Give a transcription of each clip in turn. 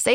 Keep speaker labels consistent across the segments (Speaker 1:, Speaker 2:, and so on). Speaker 1: Say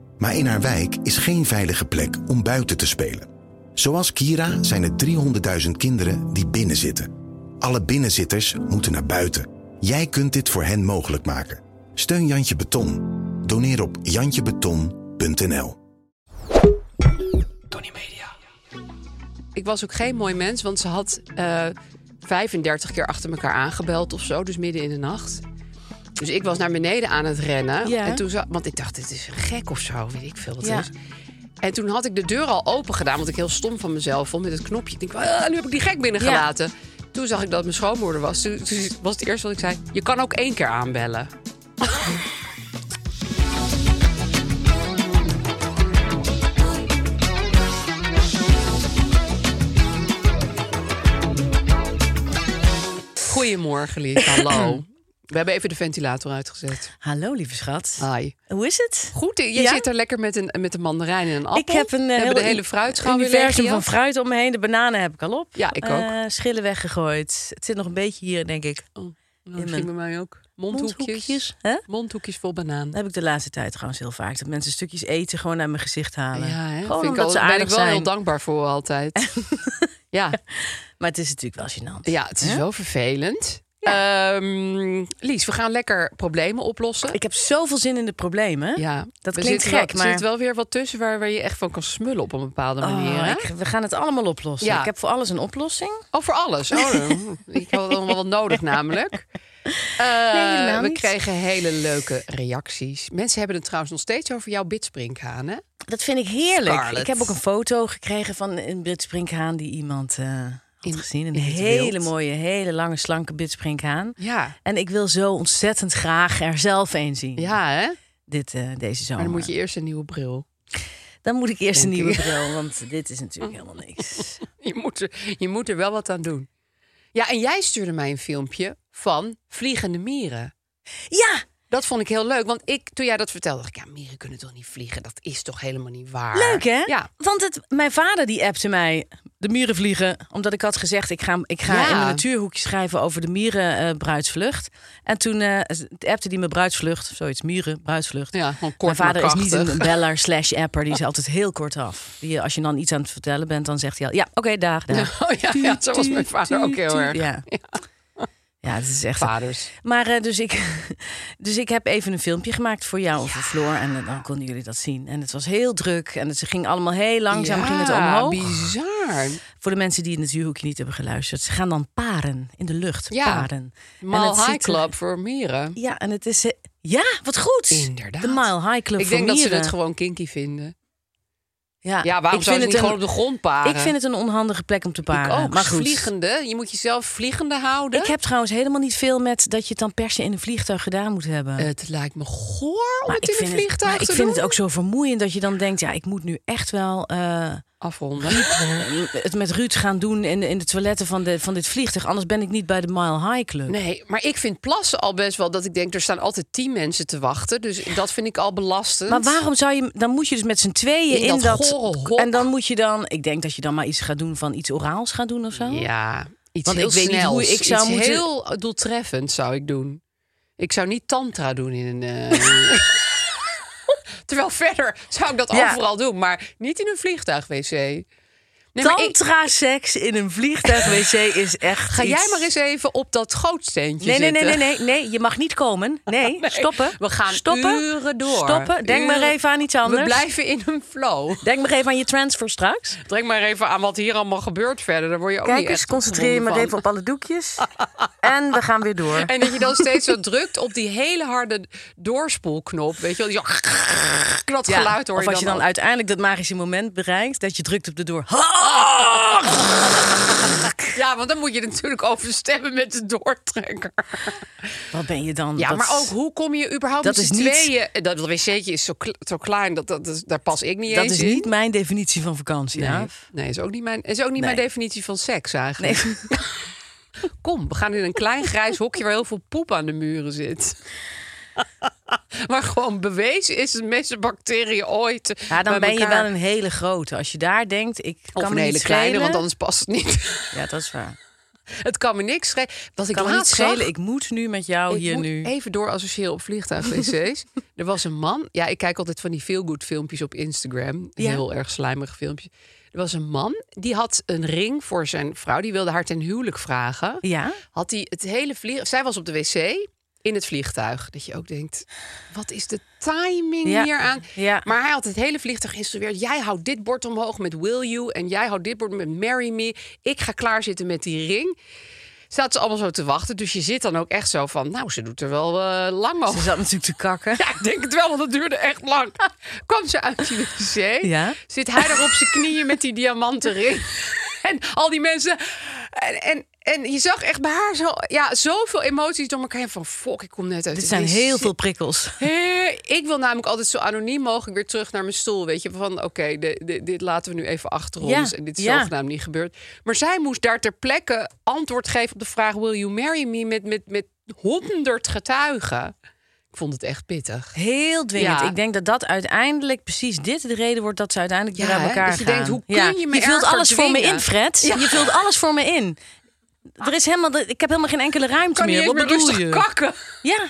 Speaker 2: Maar in haar wijk is geen veilige plek om buiten te spelen. Zoals Kira zijn er 300.000 kinderen die binnenzitten. Alle binnenzitters moeten naar buiten. Jij kunt dit voor hen mogelijk maken. Steun Jantje Beton. Doneer op jantjebeton.nl.
Speaker 3: ik was ook geen mooi mens, want ze had eh, 35 keer achter elkaar aangebeld of zo, dus midden in de nacht. Dus ik was naar beneden aan het rennen.
Speaker 4: Ja.
Speaker 3: En toen za- want ik dacht, dit is een gek of zo, weet ik veel wat
Speaker 4: Ja.
Speaker 3: het is. En toen had ik de deur al open gedaan, want ik heel stom van mezelf vond met het knopje. Ik denk, ah, nu heb ik die gek binnengelaten. Toen zag ik dat het mijn schoonmoeder was. Toen, toen was het eerste wat ik zei, je kan ook één keer aanbellen. Goedemorgen, Lies. Hallo. We hebben even de ventilator uitgezet.
Speaker 4: Hallo, lieve schat.
Speaker 3: Hi.
Speaker 4: Hoe is het?
Speaker 3: Ah. Goed, je
Speaker 4: Ja?
Speaker 3: zit er lekker met een, met een mandarijn en een appel.
Speaker 4: Ik heb een eh,
Speaker 3: We hebben
Speaker 4: heel
Speaker 3: de hele
Speaker 4: un-
Speaker 3: fruitschouw weer
Speaker 4: universum
Speaker 3: leeg
Speaker 4: van
Speaker 3: gejat.
Speaker 4: fruit om me heen. De bananen heb ik al op.
Speaker 3: Ja, ik ook.
Speaker 4: Eh, schillen weggegooid. Het zit nog een beetje hier, denk ik.
Speaker 3: Oh, misschien bij mij ook. Mondhoekjes.
Speaker 4: Mondhoekjes,
Speaker 3: Mondhoekjes,
Speaker 4: hè?
Speaker 3: vol banaan.
Speaker 4: Dat heb ik de laatste tijd trouwens heel vaak. Dat mensen stukjes eten gewoon uit mijn gezicht halen.
Speaker 3: Ja, hè?
Speaker 4: Gewoon
Speaker 3: Vind ik
Speaker 4: omdat
Speaker 3: al-
Speaker 4: ze
Speaker 3: ben ik
Speaker 4: aardig
Speaker 3: wel heel
Speaker 4: zijn.
Speaker 3: dankbaar voor altijd. ja.
Speaker 4: Maar het is natuurlijk wel gênant.
Speaker 3: ja, het is wel vervelend. Ehm, Lies, we gaan lekker problemen oplossen.
Speaker 4: Ik heb zoveel zin in de problemen.
Speaker 3: ja,
Speaker 4: dat
Speaker 3: er
Speaker 4: klinkt
Speaker 3: zit wel-
Speaker 4: gek, maar-
Speaker 3: Er zit wel weer wat tussen waar, waar je echt van kan smullen op een bepaalde manier.
Speaker 4: Oh,
Speaker 3: hè?
Speaker 4: ik- we gaan het allemaal oplossen.
Speaker 3: Ja.
Speaker 4: Ik heb voor alles een oplossing.
Speaker 3: Oh, voor alles. Oh, nou, ik had allemaal wat nodig namelijk. Eh,
Speaker 4: Nee, helemaal
Speaker 3: we
Speaker 4: niet.
Speaker 3: kregen hele leuke reacties. Mensen hebben het trouwens nog steeds over jouw bitsprinkhaan, hè?
Speaker 4: Dat vind ik heerlijk.
Speaker 3: Scarlett.
Speaker 4: Ik heb ook een foto gekregen van een bitsprinkhaan die iemand eh, had
Speaker 3: In-
Speaker 4: gezien. Een
Speaker 3: in het
Speaker 4: hele
Speaker 3: wild.
Speaker 4: mooie, hele lange, slanke bitsprinkhaan.
Speaker 3: Ja.
Speaker 4: En ik wil zo ontzettend graag er zelf een zien.
Speaker 3: Ja, hè?
Speaker 4: Dit, eh, deze zomer.
Speaker 3: Maar dan moet je eerst een nieuwe bril.
Speaker 4: Dan moet ik eerst een
Speaker 3: Denk
Speaker 4: nieuwe
Speaker 3: ik.
Speaker 4: bril, want dit is natuurlijk helemaal niks.
Speaker 3: Je moet, er, je moet er wel wat aan doen. Ja, en jij stuurde mij een filmpje van vliegende mieren.
Speaker 4: Ja,
Speaker 3: Dat vond ik heel leuk, want ik, toen jij dat vertelde, dacht ik... ja, mieren kunnen toch niet vliegen? Dat is toch helemaal niet waar?
Speaker 4: leuk hè?
Speaker 3: Ja.
Speaker 4: Want het, mijn vader die appte mij, de mieren vliegen. Omdat ik had gezegd, ik ga, ik ga
Speaker 3: Ja.
Speaker 4: in mijn natuurhoekje schrijven over de mierenbruidsvlucht. bruidsvlucht. en toen eh appte hij me bruidsvlucht, of zoiets, mierenbruidsvlucht.
Speaker 3: Ja, gewoon kort
Speaker 4: Mijn vader
Speaker 3: maar
Speaker 4: is niet
Speaker 3: krachtig.
Speaker 4: een beller slash apper, die is altijd heel kort af. Die, als je dan iets aan het vertellen bent, dan zegt hij al, ja, oké, dag, dag.
Speaker 3: Oh ja, ja, zo was mijn vader ook heel erg.
Speaker 4: Ja, ja het is echt...
Speaker 3: Vaders.
Speaker 4: Maar eh, dus, ik, dus ik heb even een filmpje gemaakt voor jou of voor Floor. En eh, dan konden jullie dat zien. En het was heel druk. En het, ze ging allemaal heel langzaam ging het
Speaker 3: Ja,
Speaker 4: omhoog.
Speaker 3: bizar.
Speaker 4: Voor de mensen die in het zuurhoekje niet hebben geluisterd. Ze gaan dan paren in de lucht.
Speaker 3: Ja.
Speaker 4: Paren. En
Speaker 3: Mile
Speaker 4: het
Speaker 3: High
Speaker 4: ziet er-
Speaker 3: Club voor mieren.
Speaker 4: Ja, en het is... eh, Ja, wat goed.
Speaker 3: Inderdaad.
Speaker 4: De Mile High Club
Speaker 3: ik denk
Speaker 4: voor
Speaker 3: dat ze
Speaker 4: mieren.
Speaker 3: het gewoon kinky vinden.
Speaker 4: Ja,
Speaker 3: Ja, waarom zou
Speaker 4: ik vind
Speaker 3: je
Speaker 4: het
Speaker 3: niet
Speaker 4: een-
Speaker 3: gewoon op de grond paren?
Speaker 4: Ik vind het een onhandige plek om te paren.
Speaker 3: ook.
Speaker 4: maar goed.
Speaker 3: Vliegende. Je moet jezelf vliegende houden.
Speaker 4: Ik heb trouwens helemaal niet veel met dat je het dan per se in een vliegtuig gedaan moet hebben.
Speaker 3: Eh, Het lijkt me goor om
Speaker 4: Maar
Speaker 3: het in een
Speaker 4: vind het-
Speaker 3: vliegtuig
Speaker 4: maar
Speaker 3: te
Speaker 4: Ik vind
Speaker 3: doen.
Speaker 4: het ook zo vermoeiend dat je dan denkt... ja, ik moet nu echt wel eh,
Speaker 3: Afronden.
Speaker 4: het met Ruud gaan doen... in, in de toiletten van, de, van dit vliegtuig. Anders ben ik niet bij de Mile High Club.
Speaker 3: Nee, maar ik vind plassen al best wel dat ik denk... er staan altijd tien mensen te wachten. Dus dat vind ik al belastend.
Speaker 4: Maar waarom zou je... Dan moet je dus met z'n tweeën
Speaker 3: In
Speaker 4: in,
Speaker 3: dat
Speaker 4: dat...
Speaker 3: gore hok.
Speaker 4: en dan moet je dan... Ik denk dat je dan maar iets gaat doen van iets oraals gaat doen of
Speaker 3: Oh.
Speaker 4: zo.
Speaker 3: Ja, iets
Speaker 4: Want
Speaker 3: heel
Speaker 4: ik weet niet hoe
Speaker 3: snels.
Speaker 4: ik zou
Speaker 3: Iets
Speaker 4: moeten-
Speaker 3: heel doeltreffend zou ik doen. Ik zou niet tantra doen in een... eh, Terwijl verder zou ik dat
Speaker 4: Ja.
Speaker 3: overal doen. Maar niet in een vliegtuig-wc. Nee, maar ik-
Speaker 4: Tantra-seks in een vliegtuig-wc is echt
Speaker 3: Ga jij
Speaker 4: iets-
Speaker 3: maar eens even op dat gootsteentje
Speaker 4: Nee, nee,
Speaker 3: zitten.
Speaker 4: nee, nee, nee, nee, je mag niet komen. Nee, stoppen.
Speaker 3: We gaan
Speaker 4: stoppen.
Speaker 3: uren door.
Speaker 4: Stoppen. Denk maar
Speaker 3: Uren.
Speaker 4: even aan iets anders.
Speaker 3: We blijven Oh, in een flow.
Speaker 4: Denk maar even aan je transfer straks.
Speaker 3: Denk maar even aan wat hier allemaal gebeurt verder. Daar word je ook
Speaker 4: Kijk
Speaker 3: niet
Speaker 4: eens,
Speaker 3: echt
Speaker 4: concentreer je maar
Speaker 3: opgewonden
Speaker 4: even op alle doekjes. en we gaan weer door.
Speaker 3: van. En dat je dan steeds zo drukt op die hele harde doorspoelknop. Weet je wel, Die zo... dat
Speaker 4: Ja,
Speaker 3: geluid hoor
Speaker 4: of als je dan
Speaker 3: ook.
Speaker 4: uiteindelijk dat magische moment bereikt, dat je drukt op de door.
Speaker 3: Ja, want dan moet je natuurlijk overstemmen met de doortrekker.
Speaker 4: Wat ben je dan?
Speaker 3: Ja,
Speaker 4: Dat-
Speaker 3: maar ook hoe kom je überhaupt
Speaker 4: dat
Speaker 3: met z'n
Speaker 4: is niet-
Speaker 3: tweeën... Dat wc'tje is zo, kle- zo klein, dat, dat, dat- daar pas ik niet
Speaker 4: Dat
Speaker 3: eens
Speaker 4: is
Speaker 3: in.
Speaker 4: niet mijn definitie van vakantie.
Speaker 3: Nee,
Speaker 4: Aaf.
Speaker 3: nee is ook niet, mijn, is ook niet mijn
Speaker 4: Nee.
Speaker 3: definitie van seks eigenlijk. Kom, we gaan in een klein grijs hokje waar heel veel poep aan de muren zit. Maar gewoon bewezen is het meeste bacteriën ooit.
Speaker 4: Ja, dan
Speaker 3: bij
Speaker 4: ben je
Speaker 3: elkaar.
Speaker 4: wel een hele grote. Als je daar denkt, ik
Speaker 3: Of
Speaker 4: kan
Speaker 3: een
Speaker 4: me
Speaker 3: hele
Speaker 4: niet
Speaker 3: kleine,
Speaker 4: schelen.
Speaker 3: want anders past het niet.
Speaker 4: Ja, dat is waar.
Speaker 3: Het kan me niks schelen. Wat ik
Speaker 4: Ik kan me niet
Speaker 3: laatst zag-
Speaker 4: schelen. Ik moet nu met jou
Speaker 3: Ik
Speaker 4: hier
Speaker 3: moet
Speaker 4: nu.
Speaker 3: Even door associëren op vliegtuigwc's. er was een man. Ja, ik kijk altijd van die feelgood filmpjes op Instagram.
Speaker 4: Ja.
Speaker 3: Heel erg slijmige filmpjes. Er was een man die had een ring voor zijn vrouw. Die wilde haar ten huwelijk vragen.
Speaker 4: Ja.
Speaker 3: Had hij het hele vlieg. Zij was op de wc in het vliegtuig. Dat je ook denkt: wat is de timing
Speaker 4: Ja.
Speaker 3: hier aan?
Speaker 4: Ja.
Speaker 3: Maar hij had het hele vliegtuig geïnstrueerd. Jij houdt dit bord omhoog met Will You. En jij houdt dit bord met Marry Me. Ik ga klaarzitten met die ring. Zaten ze allemaal zo te wachten. Dus je zit dan ook echt zo van... Nou, ze doet er wel eh, lang
Speaker 4: Ze
Speaker 3: over.
Speaker 4: zat natuurlijk te kakken.
Speaker 3: Ja, ik denk het wel, want het duurde echt lang. Kwam ze uit die wc.
Speaker 4: Ja.
Speaker 3: Zit hij daar op zijn knieën met die diamanten ring. En al die mensen... En, en, en je zag echt bij haar zo, ja, zoveel emoties door elkaar heen. Van fuck, ik kom net uit
Speaker 4: Dit
Speaker 3: de
Speaker 4: zijn
Speaker 3: wc.
Speaker 4: heel veel prikkels.
Speaker 3: Hé, Ik wil namelijk altijd zo anoniem mogelijk weer terug naar mijn stoel. Weet je, van oké, de- de- dit laten we nu even achter
Speaker 4: Ja,
Speaker 3: ons. En dit is
Speaker 4: ja.
Speaker 3: zogenaamd niet gebeurd. Maar zij moest daar ter plekke antwoord geven op de vraag: Will you marry me? Met, met, met honderd getuigen. Ik vond het echt pittig.
Speaker 4: Heel dwingend.
Speaker 3: Ja.
Speaker 4: Ik denk dat dat uiteindelijk precies dit de reden wordt dat ze uiteindelijk
Speaker 3: Ja,
Speaker 4: weer uit
Speaker 3: hè?
Speaker 4: elkaar
Speaker 3: Dat je
Speaker 4: gaan.
Speaker 3: denkt, hoe kun je me
Speaker 4: je vult
Speaker 3: erger
Speaker 4: alles voor me in,
Speaker 3: dwingen? Ah.
Speaker 4: Fred. Je vult alles voor me in. Er is helemaal, ik heb helemaal geen enkele ruimte
Speaker 3: Kan
Speaker 4: meer.
Speaker 3: je
Speaker 4: Wat
Speaker 3: meer
Speaker 4: bedoel
Speaker 3: rustig
Speaker 4: je?
Speaker 3: kakken?
Speaker 4: Ja,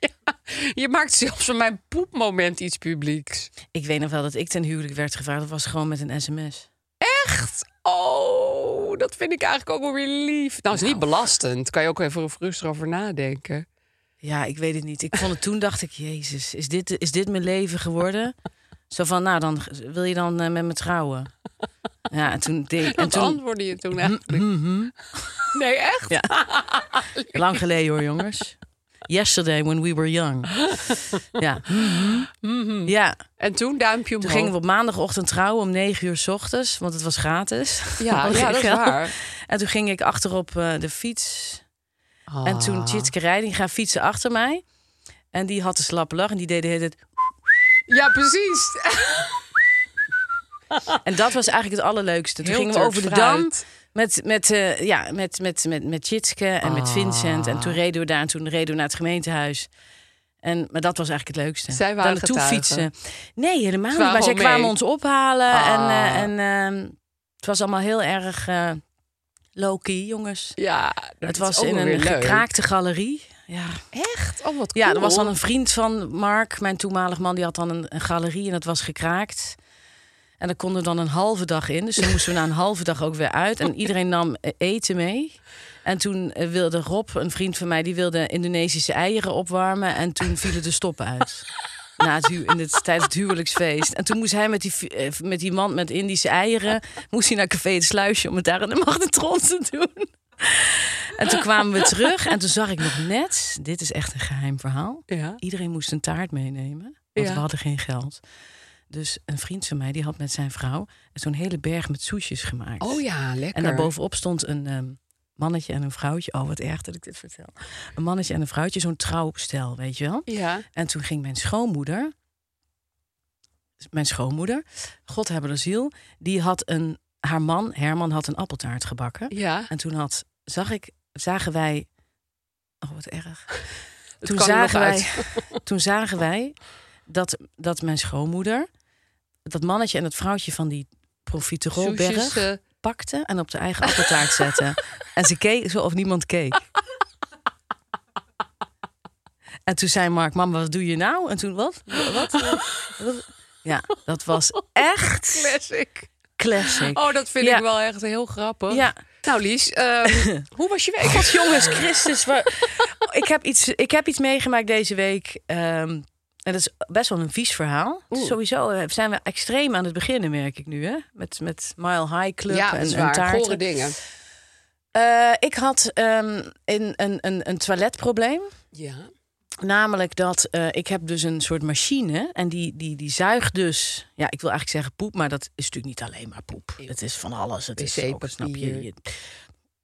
Speaker 3: Ja. Je maakt zelfs van mijn poepmoment iets publieks.
Speaker 4: ik weet nog wel dat ik ten huwelijk werd gevraagd. Dat was gewoon met een sms.
Speaker 3: Echt? Oh, dat vind ik eigenlijk ook wel weer lief. Nou, is niet belastend. Kan je ook even rustig over nadenken.
Speaker 4: Ja, ik weet het niet. Ik vond het toen dacht ik, Jezus, is dit, is dit mijn leven geworden? Zo van, nou dan wil je dan eh, met me trouwen? Ja, en toen deed ik. En
Speaker 3: Dat
Speaker 4: toen, Mm-hmm.
Speaker 3: antwoordde je toen eigenlijk. Nee, echt?
Speaker 4: Lang geleden hoor, jongens. Yesterday when we were young. Ja. ja.
Speaker 3: En toen duimpje
Speaker 4: Toen
Speaker 3: omhoog.
Speaker 4: gingen we op maandagochtend trouwen om 9 uur 's ochtends, want het was gratis.
Speaker 3: Ja,
Speaker 4: Had
Speaker 3: ja,
Speaker 4: geen
Speaker 3: dat is
Speaker 4: geld.
Speaker 3: waar.
Speaker 4: En toen ging ik achterop eh, de fiets. En
Speaker 3: Ah.
Speaker 4: toen Tjitske Rijding gaan fietsen achter mij. En die had de slappe lach en die deed de hele tijd...
Speaker 3: Ja, precies.
Speaker 4: En dat was eigenlijk het allerleukste. Toen
Speaker 3: Heel
Speaker 4: gingen we over de
Speaker 3: turfruit.
Speaker 4: dam met, met, eh, ja, met, met, met, met Tjitske en
Speaker 3: Ah.
Speaker 4: met Vincent. En toen reden we daar en toen reden we naar het gemeentehuis. En, maar dat was eigenlijk het leukste.
Speaker 3: Zij waren
Speaker 4: Daar naartoe
Speaker 3: getuigen.
Speaker 4: fietsen. Nee, helemaal
Speaker 3: Ze
Speaker 4: niet. Maar
Speaker 3: waren
Speaker 4: zij
Speaker 3: gewoon
Speaker 4: kwamen
Speaker 3: mee.
Speaker 4: ons ophalen.
Speaker 3: Ah.
Speaker 4: En, eh, en eh, het was allemaal heel erg eh low-key, jongens.
Speaker 3: Ja, dat
Speaker 4: het
Speaker 3: is
Speaker 4: was
Speaker 3: ook
Speaker 4: in
Speaker 3: wel
Speaker 4: een
Speaker 3: weer leuk.
Speaker 4: gekraakte galerie. Ja.
Speaker 3: Echt? Oh, wat
Speaker 4: Ja, er
Speaker 3: cool.
Speaker 4: was dan een vriend van Mark, mijn toenmalig man, die had dan een, een galerie en dat was gekraakt. En daar konden we dan een halve dag in. Dus dan moesten we na een halve dag ook weer uit. En iedereen nam eh, eten mee. En toen eh, wilde Rob, een vriend van mij, die wilde Indonesische eieren opwarmen. En toen vielen de stoppen uit. Na het hu- in het, tijdens het huwelijksfeest. En toen moest hij met die, vi- eh, met die man met Indische eieren... moest hij naar Café Het Sluisje om het daar in de magnetron te doen. En toen kwamen we terug en toen zag ik nog net... dit is echt een geheim verhaal.
Speaker 3: Ja.
Speaker 4: Iedereen moest een taart meenemen, want
Speaker 3: Ja.
Speaker 4: we hadden geen geld. Dus een vriend van mij die had met zijn vrouw zo'n hele berg met soesjes gemaakt.
Speaker 3: Oh ja, lekker.
Speaker 4: En daarbovenop stond een ehm, mannetje en een vrouwtje. Oh, wat erg dat ik dit vertel. Een mannetje en een vrouwtje, zo'n trouwstel, weet je wel.
Speaker 3: Ja.
Speaker 4: En toen ging mijn schoonmoeder, mijn schoonmoeder, God hebben de ziel, die had een, haar man, Herman, had een appeltaart gebakken.
Speaker 3: Ja.
Speaker 4: En toen had, zag ik, zagen wij. Oh, wat erg. Toen
Speaker 3: kan er nog
Speaker 4: zagen, wij, toen zagen wij dat, dat mijn schoonmoeder dat mannetje en dat vrouwtje van die
Speaker 3: Soesjes,
Speaker 4: profiterolberg
Speaker 3: eh,
Speaker 4: pakte en op de eigen appeltaart zette. en ze keek zo of niemand keek. En toen zei Mark, mama, wat doe je nou? En toen, wat? Wat? Wat? Ja, dat was echt
Speaker 3: Classic.
Speaker 4: classic.
Speaker 3: Oh, dat vind
Speaker 4: Ja.
Speaker 3: ik wel echt heel grappig.
Speaker 4: Ja.
Speaker 3: Nou, Lies, ehm, hoe was je week?
Speaker 4: God, jongens, Christus. wa- ik, heb iets, ik heb iets meegemaakt deze week. ehm, en dat is best wel een vies verhaal. Dus
Speaker 3: Oeh.
Speaker 4: sowieso eh, zijn we extreem aan het beginnen, merk ik nu. Hè? Met, met Mile High Club
Speaker 3: ja, dat
Speaker 4: en,
Speaker 3: is
Speaker 4: en
Speaker 3: waar.
Speaker 4: taarten.
Speaker 3: Gore dingen.
Speaker 4: Eh, ik had ehm, in, een, een, een toiletprobleem.
Speaker 3: Ja.
Speaker 4: Namelijk dat eh, ik heb dus een soort machine en die, die, die zuigt dus... Ja, ik wil eigenlijk zeggen poep, maar dat is natuurlijk niet alleen maar poep. Het is van alles. Het is ook, snap je,
Speaker 3: wc-papier.
Speaker 4: je,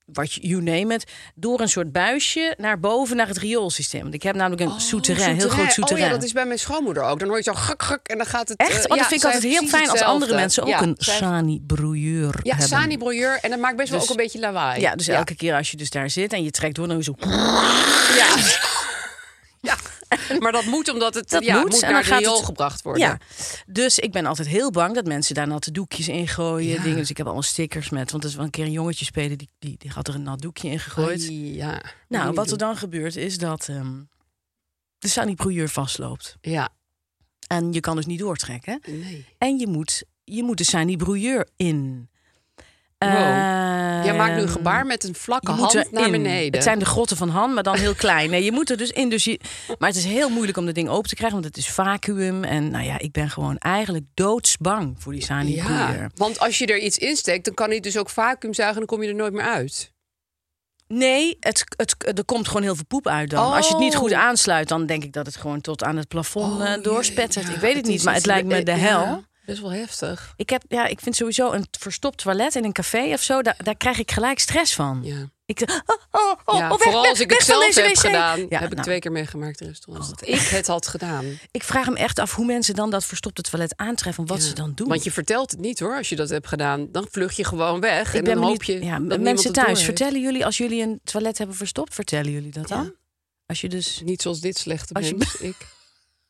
Speaker 4: wat je- you name it. Door een soort buisje naar boven naar het rioolsysteem. Want ik heb namelijk een souterrain, een heel groot souterrain.
Speaker 3: Oh ja, dat is bij mijn schoonmoeder ook. Dan hoor je zo guk, guk en dan gaat het... eh,
Speaker 4: Echt?
Speaker 3: ja,
Speaker 4: Oh, dat vind ik
Speaker 3: zij
Speaker 4: altijd
Speaker 3: heeft
Speaker 4: heel
Speaker 3: precies
Speaker 4: fijn als andere
Speaker 3: hetzelfde.
Speaker 4: mensen ook
Speaker 3: Ja,
Speaker 4: een
Speaker 3: zij-
Speaker 4: sani-brouilleur
Speaker 3: Ja,
Speaker 4: hebben.
Speaker 3: Sani Brouilleur. En dat maakt best wel
Speaker 4: Dus-
Speaker 3: ook een beetje lawaai.
Speaker 4: Ja, dus elke keer als je dus daar zit en je trekt door, dan zo...
Speaker 3: Ja. Ja. Maar dat moet omdat het
Speaker 4: Dat
Speaker 3: ja,
Speaker 4: moet,
Speaker 3: moet,
Speaker 4: en
Speaker 3: naar
Speaker 4: dan
Speaker 3: het
Speaker 4: gaat
Speaker 3: riool
Speaker 4: het-
Speaker 3: gebracht worden.
Speaker 4: Ja, dus ik ben altijd heel bang dat mensen daar natte doekjes in gooien.
Speaker 3: Ja.
Speaker 4: Dingen. Dus ik heb allemaal stickers met. Want er is wel een keer een jongetje spelen die, die, die had er een nat doekje in gegooid.
Speaker 3: Ai, ja. Moet je
Speaker 4: nou,
Speaker 3: niet
Speaker 4: wat er
Speaker 3: doen.
Speaker 4: dan gebeurt is dat ehm de sanibrouilleur vastloopt.
Speaker 3: Ja,
Speaker 4: En je kan dus niet doortrekken.
Speaker 3: nee.
Speaker 4: En je moet, je moet de sanibrouilleur in.
Speaker 3: Wow. Jij maakt nu een
Speaker 4: Ehm,
Speaker 3: gebaar met een vlakke
Speaker 4: je moet
Speaker 3: hand naar
Speaker 4: erin.
Speaker 3: beneden.
Speaker 4: Het zijn de grotten van Han, maar dan heel klein. Nee, je moet er dus in. Dus je... Maar het is heel moeilijk om dat ding open te krijgen, want het is vacuüm. En nou ja, ik ben gewoon eigenlijk doodsbang voor die sanibrouilleur.
Speaker 3: ja, want als je er iets insteekt, dan kan hij dus ook vacuüm zuigen en dan kom je er nooit meer uit.
Speaker 4: Nee, het, het, er komt gewoon heel veel poep uit dan. Als je het niet
Speaker 3: Oh.
Speaker 4: goed aansluit, dan denk ik dat het gewoon tot aan het plafond eh, doorspettert.
Speaker 3: Ja,
Speaker 4: ik weet het, niet,
Speaker 3: is
Speaker 4: maar
Speaker 3: iets-
Speaker 4: het lijkt me de
Speaker 3: eh,
Speaker 4: hel.
Speaker 3: ja, best wel heftig.
Speaker 4: Ik, heb, ja, ik vind sowieso een verstopt toilet in een café of zo, daar, daar krijg ik gelijk stress van.
Speaker 3: Ja.
Speaker 4: Ik zeg, oh, oh, oh,
Speaker 3: ja,
Speaker 4: oh, weg,
Speaker 3: vooral
Speaker 4: weg,
Speaker 3: als ik
Speaker 4: weg
Speaker 3: het
Speaker 4: van
Speaker 3: zelf
Speaker 4: deze
Speaker 3: heb
Speaker 4: wc.
Speaker 3: gedaan,
Speaker 4: Ja,
Speaker 3: heb ik
Speaker 4: nou, Oh,
Speaker 3: twee keer meegemaakt in restaurants. dat ik het had gedaan.
Speaker 4: Ik vraag me echt af hoe mensen dan dat verstopte toilet aantreffen. Wat
Speaker 3: Ja.
Speaker 4: ze dan doen.
Speaker 3: Want je vertelt het niet hoor, als je dat hebt gedaan. Dan vlug je gewoon weg en dan hoop
Speaker 4: benieuwd-
Speaker 3: je
Speaker 4: ja,
Speaker 3: dat
Speaker 4: m-
Speaker 3: niemand
Speaker 4: mensen
Speaker 3: het door
Speaker 4: thuis,
Speaker 3: heeft.
Speaker 4: vertellen jullie als jullie een toilet hebben verstopt, vertellen jullie dat dan? Als je dus.
Speaker 3: Niet zoals dit slechte
Speaker 4: Als je-
Speaker 3: mens, ik.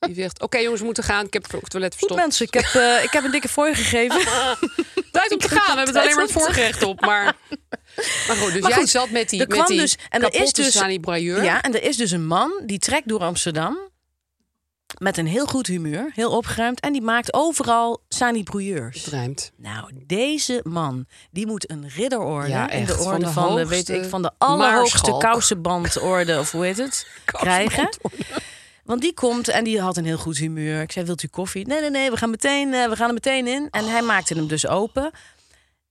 Speaker 3: Die zegt, oké jongens, we moeten gaan. Ik heb het toilet
Speaker 4: Goed
Speaker 3: verstopt.
Speaker 4: mensen, ik heb, eh, ik heb een dikke fooi gegeven.
Speaker 3: Tijd om te gaan. We hebben het alleen maar
Speaker 4: Tijd om te
Speaker 3: voorgerecht op. Maar, maar goed, dus
Speaker 4: Maar
Speaker 3: jij
Speaker 4: goed,
Speaker 3: zat met die,
Speaker 4: er
Speaker 3: met
Speaker 4: kwam
Speaker 3: die
Speaker 4: dus- en er is
Speaker 3: kapotte
Speaker 4: dus-
Speaker 3: Sani Brailleur.
Speaker 4: Ja, en er is dus een man die trekt door Amsterdam met een heel goed humeur, heel opgeruimd en die maakt overal sanibrouilleurs.
Speaker 3: Ruimt.
Speaker 4: Nou, deze man, die moet een ridderorde
Speaker 3: Ja,
Speaker 4: in de
Speaker 3: echt,
Speaker 4: orde
Speaker 3: van
Speaker 4: van
Speaker 3: de
Speaker 4: de, weet
Speaker 3: hoogste
Speaker 4: ik, van de allerhoogste
Speaker 3: maarschalk.
Speaker 4: kousenbandorde of hoe heet het, krijgen. Want die komt en die had een heel goed humeur. Ik zei, wilt u koffie? Nee, nee, nee, we gaan, meteen, eh, we gaan er meteen in. En
Speaker 3: Oh.
Speaker 4: hij maakte hem dus open.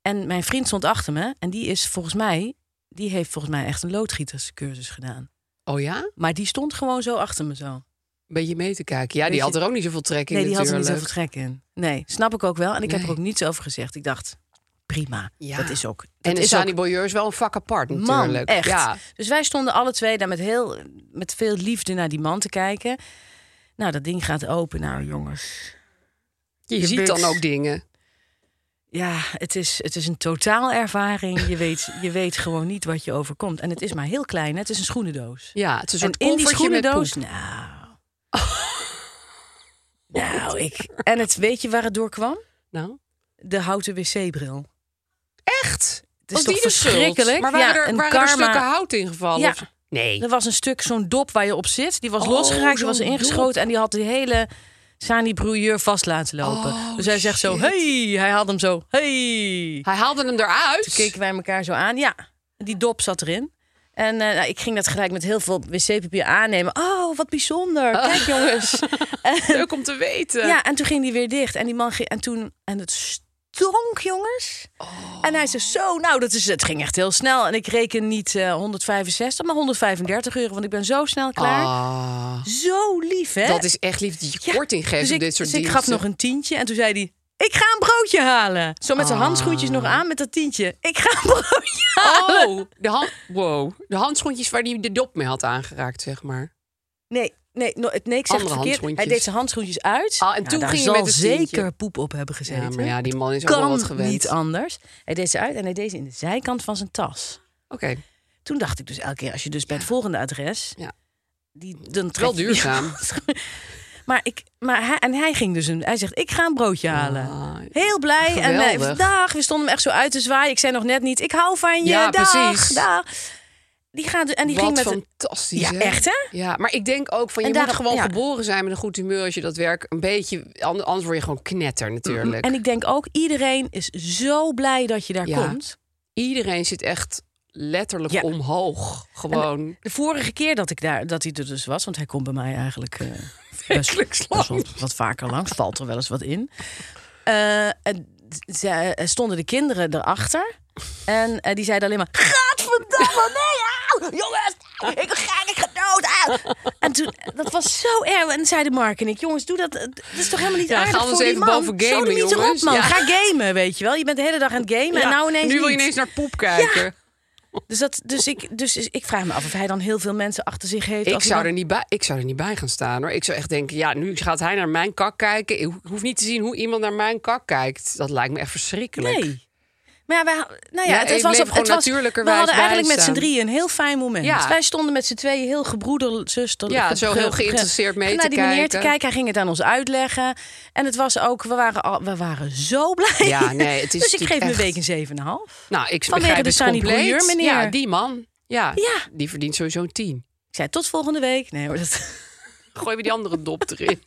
Speaker 4: En mijn vriend stond achter me en die is volgens mij, die heeft volgens mij echt een loodgieterscursus gedaan.
Speaker 3: Oh ja? Een
Speaker 4: Maar die stond gewoon zo achter me zo.
Speaker 3: beetje mee te kijken. Ja, die
Speaker 4: Beetje-
Speaker 3: had er ook niet zoveel trek in
Speaker 4: Nee, die had er niet
Speaker 3: natuurlijk.
Speaker 4: zoveel trek in. Nee, snap ik ook wel. En ik heb er
Speaker 3: Nee.
Speaker 4: ook niets over gezegd. Ik dacht, prima,
Speaker 3: Ja.
Speaker 4: dat is ook. Dat
Speaker 3: En de
Speaker 4: is ook
Speaker 3: Sani Brailleur is wel een vak apart
Speaker 4: man,
Speaker 3: natuurlijk.
Speaker 4: echt.
Speaker 3: Ja.
Speaker 4: Dus wij stonden alle twee daar met, heel, met veel liefde naar die man te kijken. Nou, dat ding gaat open. Nou, jongens.
Speaker 3: Je,
Speaker 4: Je
Speaker 3: ziet
Speaker 4: bent-
Speaker 3: dan ook dingen.
Speaker 4: Ja, het is, het is een totaalervaring. Je weet, je weet gewoon niet wat je overkomt. En het is maar heel klein. hè. Het is een schoenendoos.
Speaker 3: Ja, het is een
Speaker 4: En
Speaker 3: soort
Speaker 4: in die
Speaker 3: koffertje met
Speaker 4: schoenendoos,
Speaker 3: poep.
Speaker 4: nou... nou, ik... En het, weet je waar het door kwam?
Speaker 3: Nou,
Speaker 4: De houten wc-bril.
Speaker 3: echt?
Speaker 4: Het is
Speaker 3: Oh,
Speaker 4: toch
Speaker 3: die de schuld.
Speaker 4: verschrikkelijk?
Speaker 3: Maar waren,
Speaker 4: Ja,
Speaker 3: er,
Speaker 4: een
Speaker 3: waren er dus
Speaker 4: karma.
Speaker 3: stukken hout ingevallen?
Speaker 4: Ja.
Speaker 3: of- Nee.
Speaker 4: Er was een stuk, zo'n dop waar je op zit. Die was
Speaker 3: Oh,
Speaker 4: losgeraakt, die was
Speaker 3: zo'n
Speaker 4: ingeschoten. En die had de hele Sani Brouilleur vast laten lopen.
Speaker 3: Oh,
Speaker 4: dus hij zegt zo,
Speaker 3: shit.
Speaker 4: hey. Hij had hem zo, hey.
Speaker 3: Hij haalde hem
Speaker 4: Toen
Speaker 3: eruit.
Speaker 4: keken wij elkaar zo aan. Ja, die dop zat erin. En eh, nou, ik ging dat gelijk met heel veel wc-papier aannemen. Oh, wat bijzonder. Kijk jongens.
Speaker 3: Leuk om te weten.
Speaker 4: Ja, en toen ging die weer dicht. En die man ging, en toen, en het stonk, jongens.
Speaker 3: Oh.
Speaker 4: En hij zei zo, nou, dat is, het ging echt heel snel. En ik reken niet eh, 165, maar 135 euro, want ik ben zo snel klaar.
Speaker 3: Ah,
Speaker 4: Zo lief, hè?
Speaker 3: dat is echt lief dat je
Speaker 4: Ja,
Speaker 3: korting geeft
Speaker 4: dus
Speaker 3: op
Speaker 4: ik,
Speaker 3: dit soort
Speaker 4: dus ik
Speaker 3: dingen.
Speaker 4: gaf nog een tientje en toen zei hij... Ik ga een broodje halen. Zo met zijn
Speaker 3: Ah.
Speaker 4: handschoentjes nog aan met dat tientje. Ik ga een broodje halen.
Speaker 3: Oh, de, hand, wow. de handschoentjes waar hij de dop mee had aangeraakt, zeg maar.
Speaker 4: Nee, nee, no- nee, ik
Speaker 3: Andere
Speaker 4: zeg het verkeerd. Hij
Speaker 3: handschoentjes.
Speaker 4: deed zijn handschoentjes uit.
Speaker 3: Ah, en toen
Speaker 4: daar
Speaker 3: ging je
Speaker 4: zal
Speaker 3: met het tientje.
Speaker 4: zeker poep op hebben gezeten.
Speaker 3: Ja, maar ja, die man is ook wel
Speaker 4: kan
Speaker 3: wat gewend.
Speaker 4: niet anders. Hij deed ze uit en hij deed ze in de zijkant van zijn tas.
Speaker 3: Oké,
Speaker 4: Toen dacht ik dus elke keer, als je dus bij het volgende adres...
Speaker 3: Ja.
Speaker 4: Die, dan trek
Speaker 3: wel
Speaker 4: je die
Speaker 3: duurzaam.
Speaker 4: Maar, ik, maar hij, en hij ging dus een, hij zegt: Ik ga een broodje halen.
Speaker 3: Ah,
Speaker 4: Heel blij. En eh,
Speaker 3: geweldig.
Speaker 4: dag, we stonden hem echt zo uit te zwaaien. Ik zei nog net niet: Ik hou van je.
Speaker 3: Ja,
Speaker 4: dag,
Speaker 3: precies.
Speaker 4: dag. die gaat, dus, en die
Speaker 3: Wat
Speaker 4: ging met een-
Speaker 3: fantastisch.
Speaker 4: Ja, echt, hè?
Speaker 3: Ja, maar ik denk ook van je
Speaker 4: En
Speaker 3: moet
Speaker 4: daarom-
Speaker 3: gewoon
Speaker 4: ja.
Speaker 3: geboren zijn met een goed humeur als je dat werk een beetje an- anders word je gewoon knetter natuurlijk.
Speaker 4: En ik denk ook, iedereen is zo blij dat je daar
Speaker 3: Ja.
Speaker 4: komt.
Speaker 3: iedereen zit echt letterlijk
Speaker 4: Ja.
Speaker 3: omhoog gewoon.
Speaker 4: De vorige keer dat ik daar, dat hij er dus was, want hij komt bij mij eigenlijk eh best,
Speaker 3: Wekelijks
Speaker 4: best wel wat vaker langs, valt er wel eens wat in. Eh, en ze, eh, stonden de kinderen erachter en eh, die zeiden alleen maar: Gadverdamme, nee, au, jongens, au, ik ga, ik ga dood. au." En toen, dat was zo erg. En zeiden Mark en ik: Jongens, doe dat. eh, Dat is toch helemaal niet
Speaker 3: Ja,
Speaker 4: aardig
Speaker 3: gaan we
Speaker 4: voor
Speaker 3: eens
Speaker 4: die
Speaker 3: even
Speaker 4: man.
Speaker 3: boven gamen,
Speaker 4: Sodemiet erop,
Speaker 3: jongens.
Speaker 4: man.
Speaker 3: Ja.
Speaker 4: Ga gamen, weet je wel. Je bent de hele dag aan het gamen en
Speaker 3: Ja,
Speaker 4: nou ineens
Speaker 3: nu wil je
Speaker 4: niet.
Speaker 3: ineens naar poep kijken.
Speaker 4: Dus, dat, dus, ik, dus is- ik vraag me af of hij dan heel veel mensen achter zich heeft.
Speaker 3: Ik
Speaker 4: als hij
Speaker 3: zou,
Speaker 4: dan-
Speaker 3: er niet bij, ik zou er niet bij gaan staan hoor. Ik zou echt denken, ja, nu gaat hij naar mijn kak kijken. Ik ho- hoef niet te zien hoe iemand naar mijn kak kijkt. Dat lijkt me echt verschrikkelijk.
Speaker 4: Nee. Maar ja, wij, ha- nou ja,
Speaker 3: Ja,
Speaker 4: het,
Speaker 3: je
Speaker 4: het
Speaker 3: bleef
Speaker 4: was, het
Speaker 3: gewoon
Speaker 4: was, we
Speaker 3: natuurlijkerwijs
Speaker 4: hadden eigenlijk met z'n
Speaker 3: bijstaan.
Speaker 4: drieën een heel fijn moment.
Speaker 3: Ja.
Speaker 4: Wij stonden met z'n tweeën heel gebroeder, zuster.
Speaker 3: Ja,
Speaker 4: ge-
Speaker 3: zo
Speaker 4: ge-
Speaker 3: heel
Speaker 4: ge-
Speaker 3: geïnteresseerd mee
Speaker 4: naar
Speaker 3: te
Speaker 4: die meneer te
Speaker 3: kijken.
Speaker 4: kijken. Hij ging het aan ons uitleggen. En het was ook, we waren, al, we waren zo blij.
Speaker 3: Ja, nee, het is
Speaker 4: dus ik geef
Speaker 3: natuurlijk
Speaker 4: hem een
Speaker 3: echt-
Speaker 4: week een 7,5.
Speaker 3: Nou, ik
Speaker 4: Vanwege
Speaker 3: begrijp
Speaker 4: de
Speaker 3: het
Speaker 4: Sunny
Speaker 3: compleet.
Speaker 4: Boyer, meneer.
Speaker 3: Ja, die man. Ja,
Speaker 4: Ja.
Speaker 3: die verdient sowieso een tien.
Speaker 4: Ik zei tot volgende week. Nee hoor, dat,
Speaker 3: Gooi weer die andere dop erin.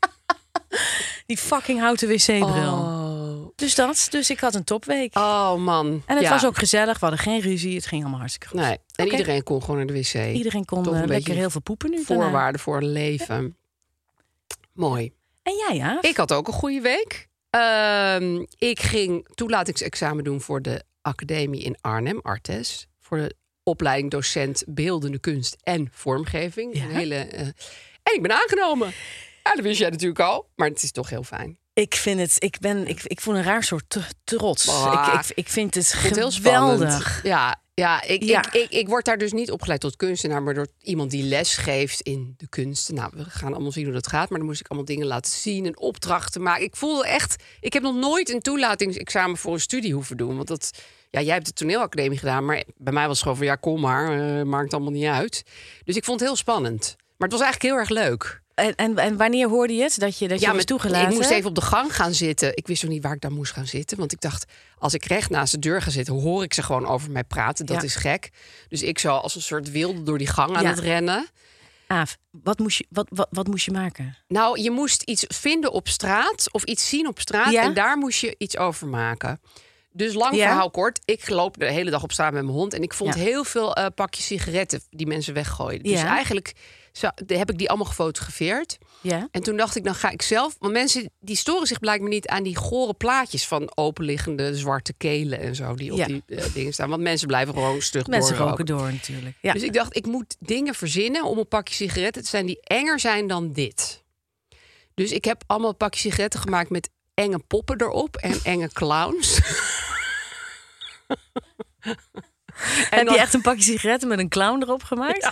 Speaker 4: die fucking houten wc-bril.
Speaker 3: Oh,
Speaker 4: Dus dat, dus ik had een topweek.
Speaker 3: oh man.
Speaker 4: En het
Speaker 3: Ja.
Speaker 4: was ook gezellig, we hadden geen ruzie. Het ging allemaal hartstikke goed.
Speaker 3: Nee, en
Speaker 4: Oké.
Speaker 3: iedereen kon gewoon naar de wc.
Speaker 4: Iedereen kon
Speaker 3: Toch een
Speaker 4: eh, lekker
Speaker 3: beetje
Speaker 4: heel veel poepen nu. daarna.
Speaker 3: Voorwaarden voor een leven. Mooi.
Speaker 4: En jij, ja?
Speaker 3: Ik had ook een goede week. Ehm, ik ging toelatingsexamen doen voor de academie in Arnhem, Artes. Voor de opleiding docent beeldende kunst en vormgeving. Een hele, eh, en ik ben aangenomen. Ja, dat wist jij natuurlijk al, maar het is toch heel fijn.
Speaker 4: Ik vind het, ik ben, ik, ik voel een raar soort t- trots.
Speaker 3: Ah,
Speaker 4: ik, ik, ik vind het
Speaker 3: Ik vind het heel
Speaker 4: geweldig.
Speaker 3: spannend. Ja, ja, ik,
Speaker 4: Ja.
Speaker 3: Ik, ik, ik word daar dus niet opgeleid tot kunstenaar, maar door iemand die les geeft in de kunsten. Nou, we gaan allemaal zien hoe dat gaat, maar dan moest ik allemaal dingen laten zien en opdrachten maken. Ik voelde echt, ik heb nog nooit een toelatingsexamen voor een studie hoeven doen, want dat, ja, jij hebt de toneelacademie gedaan, maar bij mij was het gewoon van ja, kom maar, eh, maakt allemaal niet uit. Dus ik vond het heel spannend, maar het was eigenlijk heel erg leuk.
Speaker 4: En, en, en wanneer hoorde je het dat je dat je was
Speaker 3: maar
Speaker 4: toegelaten?
Speaker 3: Ik moest even op de gang gaan zitten. Ik wist nog niet waar ik dan moest gaan zitten. Want ik dacht, als ik recht naast de deur ga zitten, hoor ik ze gewoon over mij praten. Dat
Speaker 4: Ja.
Speaker 3: is gek. Dus ik zou als een soort wilde door die gang aan
Speaker 4: Ja.
Speaker 3: het rennen.
Speaker 4: Aaf, wat moest je, wat, wat, wat moest je maken?
Speaker 3: Nou, je moest iets vinden op straat of iets zien op straat.
Speaker 4: Ja.
Speaker 3: En daar moest je iets over maken. Dus lang
Speaker 4: Ja.
Speaker 3: verhaal kort. Ik loop de hele dag op straat met mijn hond. En ik vond
Speaker 4: Ja.
Speaker 3: heel veel eh, pakjes sigaretten die mensen weggooiden. Dus
Speaker 4: Ja.
Speaker 3: eigenlijk zou- heb ik die allemaal gefotografeerd.
Speaker 4: Ja.
Speaker 3: En toen dacht ik, dan ga ik zelf. Want mensen die storen zich blijkbaar niet aan die gore plaatjes van openliggende zwarte kelen en zo. Die op
Speaker 4: Ja.
Speaker 3: die eh, dingen staan. Want mensen blijven gewoon stug
Speaker 4: Mensen
Speaker 3: doorroken.
Speaker 4: roken door natuurlijk. Ja.
Speaker 3: Dus ik dacht, ik moet dingen verzinnen om een pakje sigaretten te zijn die enger zijn dan dit. Dus ik heb allemaal pakjes sigaretten gemaakt met enge poppen erop en enge clowns. en
Speaker 4: Heb
Speaker 3: dan-
Speaker 4: je echt een pakje sigaretten met een clown erop gemaakt?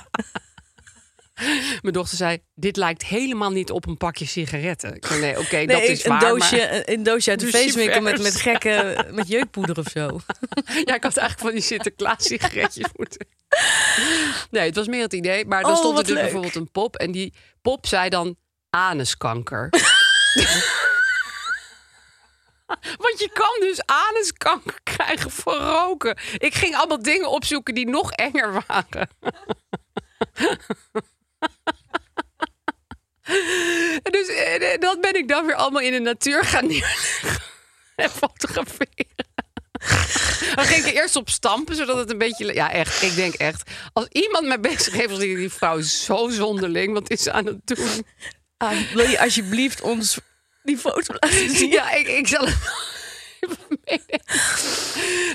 Speaker 3: Mijn dochter zei, dit lijkt helemaal niet op een pakje sigaretten. Ik zei, nee, oké,
Speaker 4: Nee,
Speaker 3: dat is
Speaker 4: een,
Speaker 3: waar.
Speaker 4: doosje,
Speaker 3: maar-
Speaker 4: een, een doosje uit de
Speaker 3: Lucifers.
Speaker 4: feestwinkel met, met gekke met jeukpoeder of zo.
Speaker 3: Ja, ik had eigenlijk van die Sinterklaas sigaretjes moeten. Nee, het was meer het idee. Maar dan
Speaker 4: Oh,
Speaker 3: stond er
Speaker 4: wat
Speaker 3: dus
Speaker 4: leuk.
Speaker 3: bijvoorbeeld een pop. En die pop zei dan anuskanker. Want je kan dus anuskanker krijgen voor roken. Ik ging allemaal dingen opzoeken die nog enger waren. dus eh, eh, dat ben ik dan weer allemaal in de natuur gaan neerleggen. En fotograferen. Dan ging ik er eerst op stampen, zodat het een beetje... Ja, echt. Ik denk echt. Als iemand mij bezig heeft, was ik die vrouw is zo zonderling. Wat is ze aan het doen?
Speaker 4: Ah, wil je alsjeblieft ons die foto laten zien?
Speaker 3: Ja, ik, ik zal het even meenemen.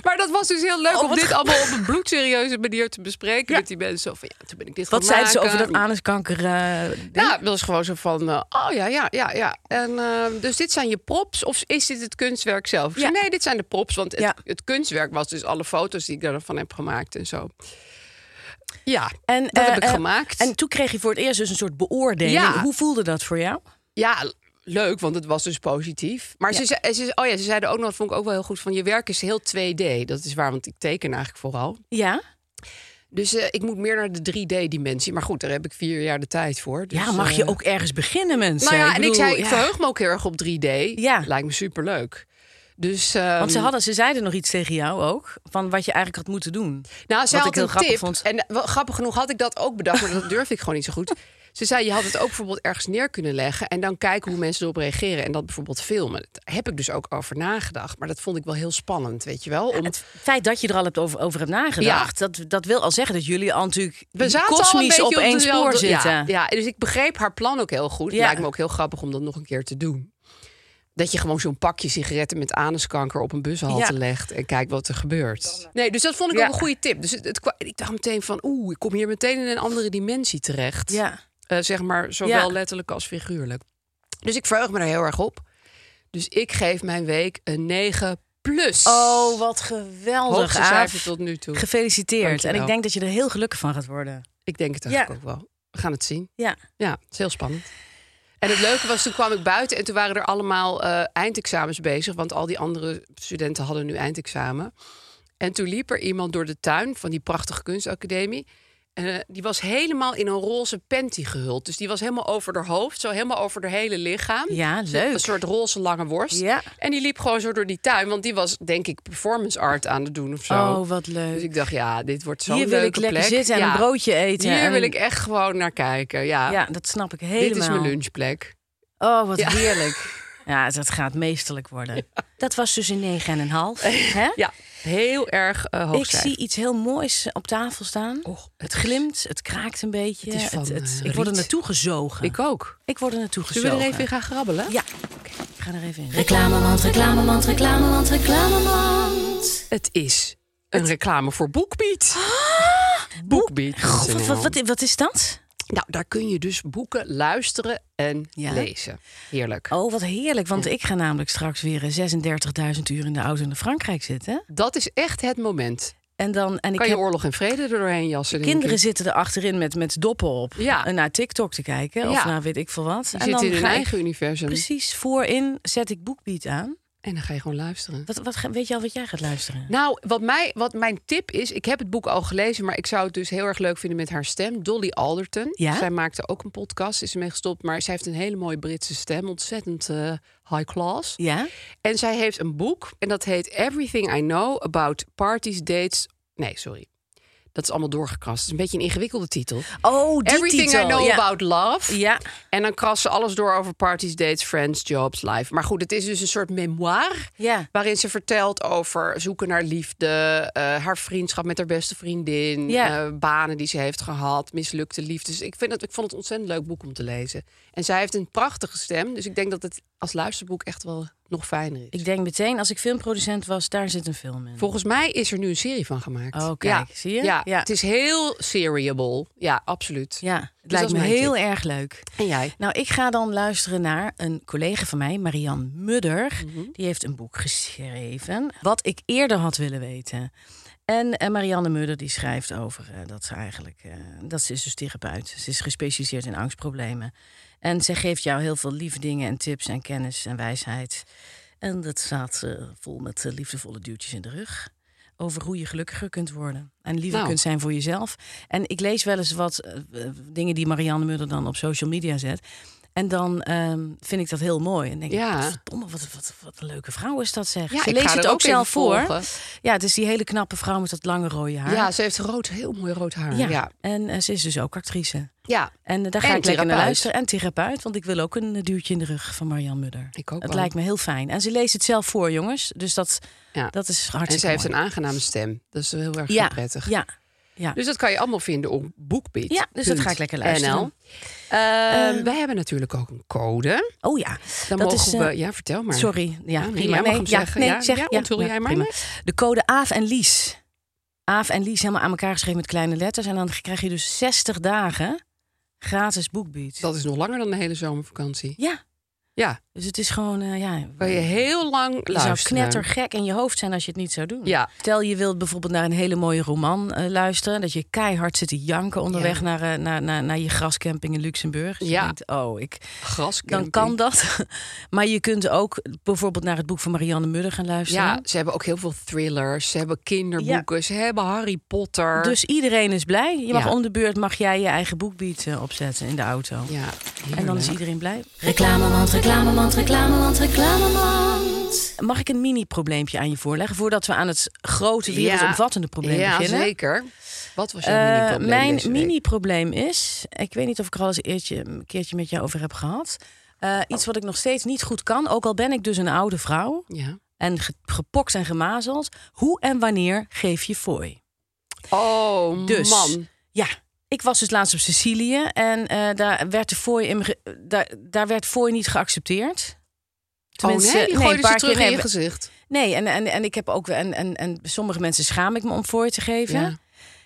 Speaker 3: Maar dat was dus heel leuk
Speaker 4: Oh,
Speaker 3: om
Speaker 4: wat
Speaker 3: dit
Speaker 4: ge-
Speaker 3: allemaal op een bloedserieuze manier te bespreken met die mensen. Zo Van, ja, toen ben ik dit
Speaker 4: Wat
Speaker 3: gaan
Speaker 4: zeiden ze over
Speaker 3: maken.
Speaker 4: dat anuskanker? eh,
Speaker 3: Ja, dat is Nou, gewoon zo van, eh, oh ja, ja, ja, ja. En, eh, dus dit zijn je props of is dit het kunstwerk zelf? Ik zei,
Speaker 4: Ja.
Speaker 3: Nee, dit zijn de props, want het,
Speaker 4: Ja.
Speaker 3: het kunstwerk was dus alle foto's die ik daarvan heb gemaakt en zo. Ja,
Speaker 4: En,
Speaker 3: dat
Speaker 4: eh,
Speaker 3: heb ik
Speaker 4: eh,
Speaker 3: gemaakt.
Speaker 4: En toen kreeg je voor het eerst dus een soort beoordeling.
Speaker 3: Ja.
Speaker 4: Hoe voelde dat voor jou?
Speaker 3: Ja, leuk, want het was dus positief. Maar ze, ze, ze, oh ja, ze zeiden ook nog, dat vond ik ook wel heel goed, van je werk is heel 2D. Dat is waar, want ik teken eigenlijk vooral.
Speaker 4: Ja.
Speaker 3: Dus eh, ik moet meer naar de 3D-dimensie. Maar goed, daar heb ik vier jaar de tijd voor. Dus,
Speaker 4: ja, mag je
Speaker 3: eh,
Speaker 4: ook ergens beginnen, mensen?
Speaker 3: Nou ja, en ik
Speaker 4: bedoel,
Speaker 3: zei, ik verheug me ook heel erg op 3D.
Speaker 4: Ja.
Speaker 3: Lijkt me superleuk. Dus, ehm,
Speaker 4: Want ze, hadden, ze zeiden nog iets tegen jou ook. Van wat je eigenlijk had moeten doen.
Speaker 3: Nou, zij
Speaker 4: Wat
Speaker 3: had
Speaker 4: ik heel
Speaker 3: een
Speaker 4: grappig
Speaker 3: tip.
Speaker 4: vond.
Speaker 3: En wel, grappig genoeg had ik dat ook bedacht, maar dat durfde ik gewoon niet zo goed. Ze zei, je had het ook bijvoorbeeld ergens neer kunnen leggen... en dan kijken hoe mensen erop reageren. En dat bijvoorbeeld filmen. Daar heb ik dus ook over nagedacht. Maar dat vond ik wel heel spannend, weet je wel. Om...
Speaker 4: Het feit dat je er al hebt over, over hebt nagedacht, dat, dat wil al zeggen dat jullie al natuurlijk
Speaker 3: We zaten al een
Speaker 4: kosmisch
Speaker 3: beetje
Speaker 4: op één
Speaker 3: dezelfde-
Speaker 4: spoor zitten.
Speaker 3: Ja, ja, dus ik begreep haar plan ook heel goed. Het
Speaker 4: Ja.
Speaker 3: Lijkt me ook heel grappig om dat nog een keer te doen. Dat je gewoon zo'n pakje sigaretten met anuskanker op een bushalte
Speaker 4: Ja.
Speaker 3: legt en kijkt wat er gebeurt. Nee, dus dat vond ik
Speaker 4: Ja.
Speaker 3: ook een goede tip. Dus het, het kwa- ik dacht meteen van, oeh, ik kom hier meteen in een andere dimensie terecht.
Speaker 4: Ja.
Speaker 3: Eh, zeg maar, zowel
Speaker 4: Ja.
Speaker 3: letterlijk als figuurlijk. Dus ik verheug me daar heel erg op. Dus ik geef mijn week een 9 plus.
Speaker 4: Oh, wat geweldig.
Speaker 3: Hoogste
Speaker 4: Aaf.
Speaker 3: cijfer tot nu toe.
Speaker 4: Gefeliciteerd.
Speaker 3: Dankjewel.
Speaker 4: En ik denk dat je er heel gelukkig van gaat worden.
Speaker 3: Ik denk het
Speaker 4: Ja.
Speaker 3: eigenlijk ook wel. We gaan het zien.
Speaker 4: Ja.
Speaker 3: Ja, het is heel spannend. En het leuke was, toen kwam ik buiten en toen waren er allemaal eh, eindexamens bezig. Want al die andere studenten hadden nu eindexamen. En toen liep er iemand door de tuin van die prachtige kunstacademie. En eh, die was helemaal in een roze panty gehuld. Dus die was helemaal over haar hoofd, zo helemaal over haar hele lichaam.
Speaker 4: Ja,
Speaker 3: Zo-
Speaker 4: leuk.
Speaker 3: Een soort roze lange worst.
Speaker 4: Ja.
Speaker 3: En die liep gewoon zo door die tuin. Want die was, denk ik, performance art aan het doen of zo.
Speaker 4: Oh, wat
Speaker 3: Dus
Speaker 4: leuk.
Speaker 3: ik dacht, ja, dit wordt zo'n
Speaker 4: Hier wil
Speaker 3: leuke
Speaker 4: ik lekker
Speaker 3: plek.
Speaker 4: zitten en
Speaker 3: Ja.
Speaker 4: een broodje eten.
Speaker 3: Hier
Speaker 4: en-
Speaker 3: wil ik echt gewoon naar kijken. Ja,
Speaker 4: Ja, dat snap ik helemaal.
Speaker 3: Ah. dit is mijn lunchplek.
Speaker 4: Oh, wat
Speaker 3: Ja.
Speaker 4: heerlijk. Ja, dat gaat meesterlijk worden. Dat was dus in negen en een half. hè?
Speaker 3: Ja, heel erg eh hoog
Speaker 4: ik zie Oh, iets heel moois op tafel staan.
Speaker 3: Och,
Speaker 4: het glimt, het kraakt een beetje.
Speaker 3: Het is van, eh,
Speaker 4: ik word er
Speaker 3: riet.
Speaker 4: naartoe gezogen.
Speaker 3: Ik ook.
Speaker 4: Ik word er naartoe
Speaker 3: Zullen
Speaker 4: gezogen.
Speaker 3: we er even in gaan grabbelen?
Speaker 4: Ja, ik ga er even in.
Speaker 5: Reclamemand, reclamemand, reclamemand, reclamemand.
Speaker 3: Het is een reclame voor BookBeat. BookBeat.
Speaker 4: Ah! God, wat, wat, wat, wat is dat?
Speaker 3: Nou, daar kun je dus boeken luisteren en
Speaker 4: Ja.
Speaker 3: lezen. Heerlijk.
Speaker 4: Oh, wat heerlijk. Want ik ga namelijk straks weer eh, 36.000 uur in de auto naar Frankrijk zitten.
Speaker 3: Dat is echt het moment.
Speaker 4: En dan, en ik
Speaker 3: Kan je
Speaker 4: heb
Speaker 3: oorlog en vrede er doorheen jassen? denk
Speaker 4: kinderen
Speaker 3: ik.
Speaker 4: zitten er achterin met, met doppen op.
Speaker 3: Ja.
Speaker 4: En naar TikTok te kijken. Of
Speaker 3: Ja.
Speaker 4: naar weet ik veel wat.
Speaker 3: Die
Speaker 4: en
Speaker 3: zitten
Speaker 4: dan
Speaker 3: in hun
Speaker 4: ga ik
Speaker 3: eigen universum.
Speaker 4: precies voorin zet ik BookBeat aan.
Speaker 3: En dan ga je gewoon luisteren.
Speaker 4: Wat, wat, ga- weet je al wat jij gaat luisteren?
Speaker 3: Nou, wat, mij, wat mijn tip is, ik heb het boek al gelezen, maar ik zou het dus heel erg leuk vinden met haar stem. Dolly Alderton.
Speaker 4: Ja?
Speaker 3: Zij maakte ook een podcast, is ermee gestopt, maar zij heeft een hele mooie Britse stem, ontzettend eh, high class.
Speaker 4: Ja?
Speaker 3: En zij heeft een boek en dat heet Everything I Know About Parties, Dates. Nee, sorry. Dat is allemaal doorgekrast. Het is een beetje een ingewikkelde titel.
Speaker 4: Oh, die
Speaker 3: Everything
Speaker 4: titel.
Speaker 3: I Know
Speaker 4: ja.
Speaker 3: About Love.
Speaker 4: Ja.
Speaker 3: En dan krast ze alles door over parties, dates, friends, jobs, life. Maar goed, het is dus een soort memoir.
Speaker 4: Ja.
Speaker 3: Waarin ze vertelt over zoeken naar liefde, eh, haar vriendschap met haar beste vriendin,
Speaker 4: Ja.
Speaker 3: eh, banen die ze heeft gehad, mislukte liefdes. Ik, vind het, ik vond het een ontzettend leuk boek om te lezen. En zij heeft een prachtige stem, dus ik denk dat het als luisterboek echt wel nog fijner is.
Speaker 4: Ik denk meteen, als ik filmproducent was, daar zit een film in.
Speaker 3: Volgens mij is er nu een serie van gemaakt.
Speaker 4: Oh, kijk,
Speaker 3: ja.
Speaker 4: zie je?
Speaker 3: Ja,
Speaker 4: Ja.
Speaker 3: het is heel seriable. Ja, absoluut.
Speaker 4: Ja, het
Speaker 3: dat is
Speaker 4: lijkt me
Speaker 3: mijn
Speaker 4: heel
Speaker 3: tip.
Speaker 4: erg leuk.
Speaker 3: En jij?
Speaker 4: Nou, ik ga dan luisteren naar een collega van mij, Marianne Mudder.
Speaker 3: Mhm.
Speaker 4: Die heeft een boek geschreven, wat ik eerder had willen weten. En eh, Marianne Mudder die schrijft over eh, dat ze eigenlijk... eh, dat ze is dus therapeut. Ze is gespecialiseerd in angstproblemen. En ze geeft jou heel veel lieve dingen en tips en kennis en wijsheid. En dat staat eh, vol met eh, liefdevolle duwtjes in de rug. Over hoe je gelukkiger kunt worden. En liever
Speaker 3: Nou.
Speaker 4: kunt zijn voor jezelf. En ik lees wel eens wat eh, eh, dingen die Marianne Mudder dan op social media zet. En dan ehm, vind ik dat heel mooi. En denk
Speaker 3: Ja.
Speaker 4: ik, verdomme, wat, wat, wat een leuke vrouw is dat zeg.
Speaker 3: Ja,
Speaker 4: Ze
Speaker 3: ik
Speaker 4: leest
Speaker 3: ga
Speaker 4: het
Speaker 3: er
Speaker 4: ook,
Speaker 3: ook even
Speaker 4: zelf voor.
Speaker 3: volgen.
Speaker 4: Ja, het is die hele knappe vrouw met dat lange rode haar.
Speaker 3: Ja, ze heeft rood, heel mooi rood haar.
Speaker 4: Ja.
Speaker 3: ja.
Speaker 4: En eh, ze is dus ook actrice.
Speaker 3: Ja.
Speaker 4: En eh, daar ga
Speaker 3: En
Speaker 4: ik lekker naar
Speaker 3: therapeut.
Speaker 4: luisteren. En therapeut, want ik wil ook een eh, duwtje in de rug van Marianne Mudder.
Speaker 3: Ik ook
Speaker 4: Het
Speaker 3: wel.
Speaker 4: lijkt me heel fijn. En ze leest het zelf voor, jongens. Dus dat,
Speaker 3: Ja.
Speaker 4: dat is
Speaker 3: En
Speaker 4: hartstikke
Speaker 3: ze heeft een
Speaker 4: mooi.
Speaker 3: aangename stem. Dat is heel erg
Speaker 4: ja,
Speaker 3: prettig.
Speaker 4: Ja, ja.
Speaker 3: Dus dat kan je allemaal vinden op BookBeat.
Speaker 4: Ja, dus dat ga ik lekker luisteren.
Speaker 3: NL. Ehm, wij hebben natuurlijk ook een code.
Speaker 4: oh ja.
Speaker 3: Dan
Speaker 4: dat
Speaker 3: mogen
Speaker 4: is,
Speaker 3: we...
Speaker 4: eh,
Speaker 3: Ja, vertel maar.
Speaker 4: Sorry, ja,
Speaker 3: nee,
Speaker 4: prima.
Speaker 3: jij mag
Speaker 4: nee,
Speaker 3: hem
Speaker 4: ja,
Speaker 3: zeggen.
Speaker 4: nee,
Speaker 3: Ja,
Speaker 4: zeg,
Speaker 3: ja, onthul jij maar
Speaker 4: prima.
Speaker 3: net.
Speaker 4: De code Aaf en Lies. Aaf en Lies helemaal aan elkaar geschreven met kleine letters. En dan krijg je dus 60 dagen gratis boekbeat.
Speaker 3: Dat is nog langer dan de hele zomervakantie.
Speaker 4: Ja,
Speaker 3: Ja,
Speaker 4: dus het is gewoon, eh, ja...
Speaker 3: kan je heel lang
Speaker 4: Je zou
Speaker 3: luisteren.
Speaker 4: knettergek in je hoofd zijn als je het niet zou doen.
Speaker 3: Ja.
Speaker 4: Stel, je wilt bijvoorbeeld naar een hele mooie roman eh, luisteren. Dat je keihard zit te janken onderweg
Speaker 3: Ja.
Speaker 4: naar, eh, naar, naar, naar je grascamping in Luxemburg. Dus je
Speaker 3: Ja.
Speaker 4: denkt, oh, ik, dan
Speaker 3: Grascamping.
Speaker 4: kan dat. Maar je kunt ook bijvoorbeeld naar het boek van Marianne Mudder gaan luisteren.
Speaker 3: Ja, ze hebben ook heel veel thrillers. Ze hebben kinderboeken. Ze hebben Harry Potter.
Speaker 4: Dus iedereen is blij. Je mag
Speaker 3: Ja.
Speaker 4: om de beurt mag jij je eigen boekbeat eh, opzetten in de auto.
Speaker 3: ja,
Speaker 4: En dan is
Speaker 3: heerlijk.
Speaker 4: iedereen blij.
Speaker 5: Reclamemand, reclamemand, reclamemand, reclamemand.
Speaker 4: Mag ik een mini-probleempje aan je voorleggen voordat we aan het grote wereldomvattende probleem
Speaker 3: ja,
Speaker 4: beginnen?
Speaker 3: zeker. Wat was jouw
Speaker 4: Eh,
Speaker 3: mini-probleem
Speaker 4: mijn
Speaker 3: deze week?
Speaker 4: mini-probleem is, ik weet niet of ik er al eens eertje, een keertje met jou over heb gehad. eh,
Speaker 3: Oh.
Speaker 4: iets wat ik nog steeds niet goed kan, ook al ben ik dus een oude vrouw
Speaker 3: Ja.
Speaker 4: en ge- gepokt en gemazeld. Hoe en wanneer geef je fooi?
Speaker 3: Oh,
Speaker 4: Dus
Speaker 3: man.
Speaker 4: ja, ik was dus laatst op Sicilië en eh, daar werd de fooi in me ge- daar, daar werd fooi niet geaccepteerd.
Speaker 3: oh nee, die gooiden
Speaker 4: een paar
Speaker 3: ze terug
Speaker 4: keer-
Speaker 3: in je
Speaker 4: nee,
Speaker 3: gezicht.
Speaker 4: Nee, en, en, en ik heb ook en, en, en sommige mensen schaam ik me om fooi te geven.
Speaker 3: Ja.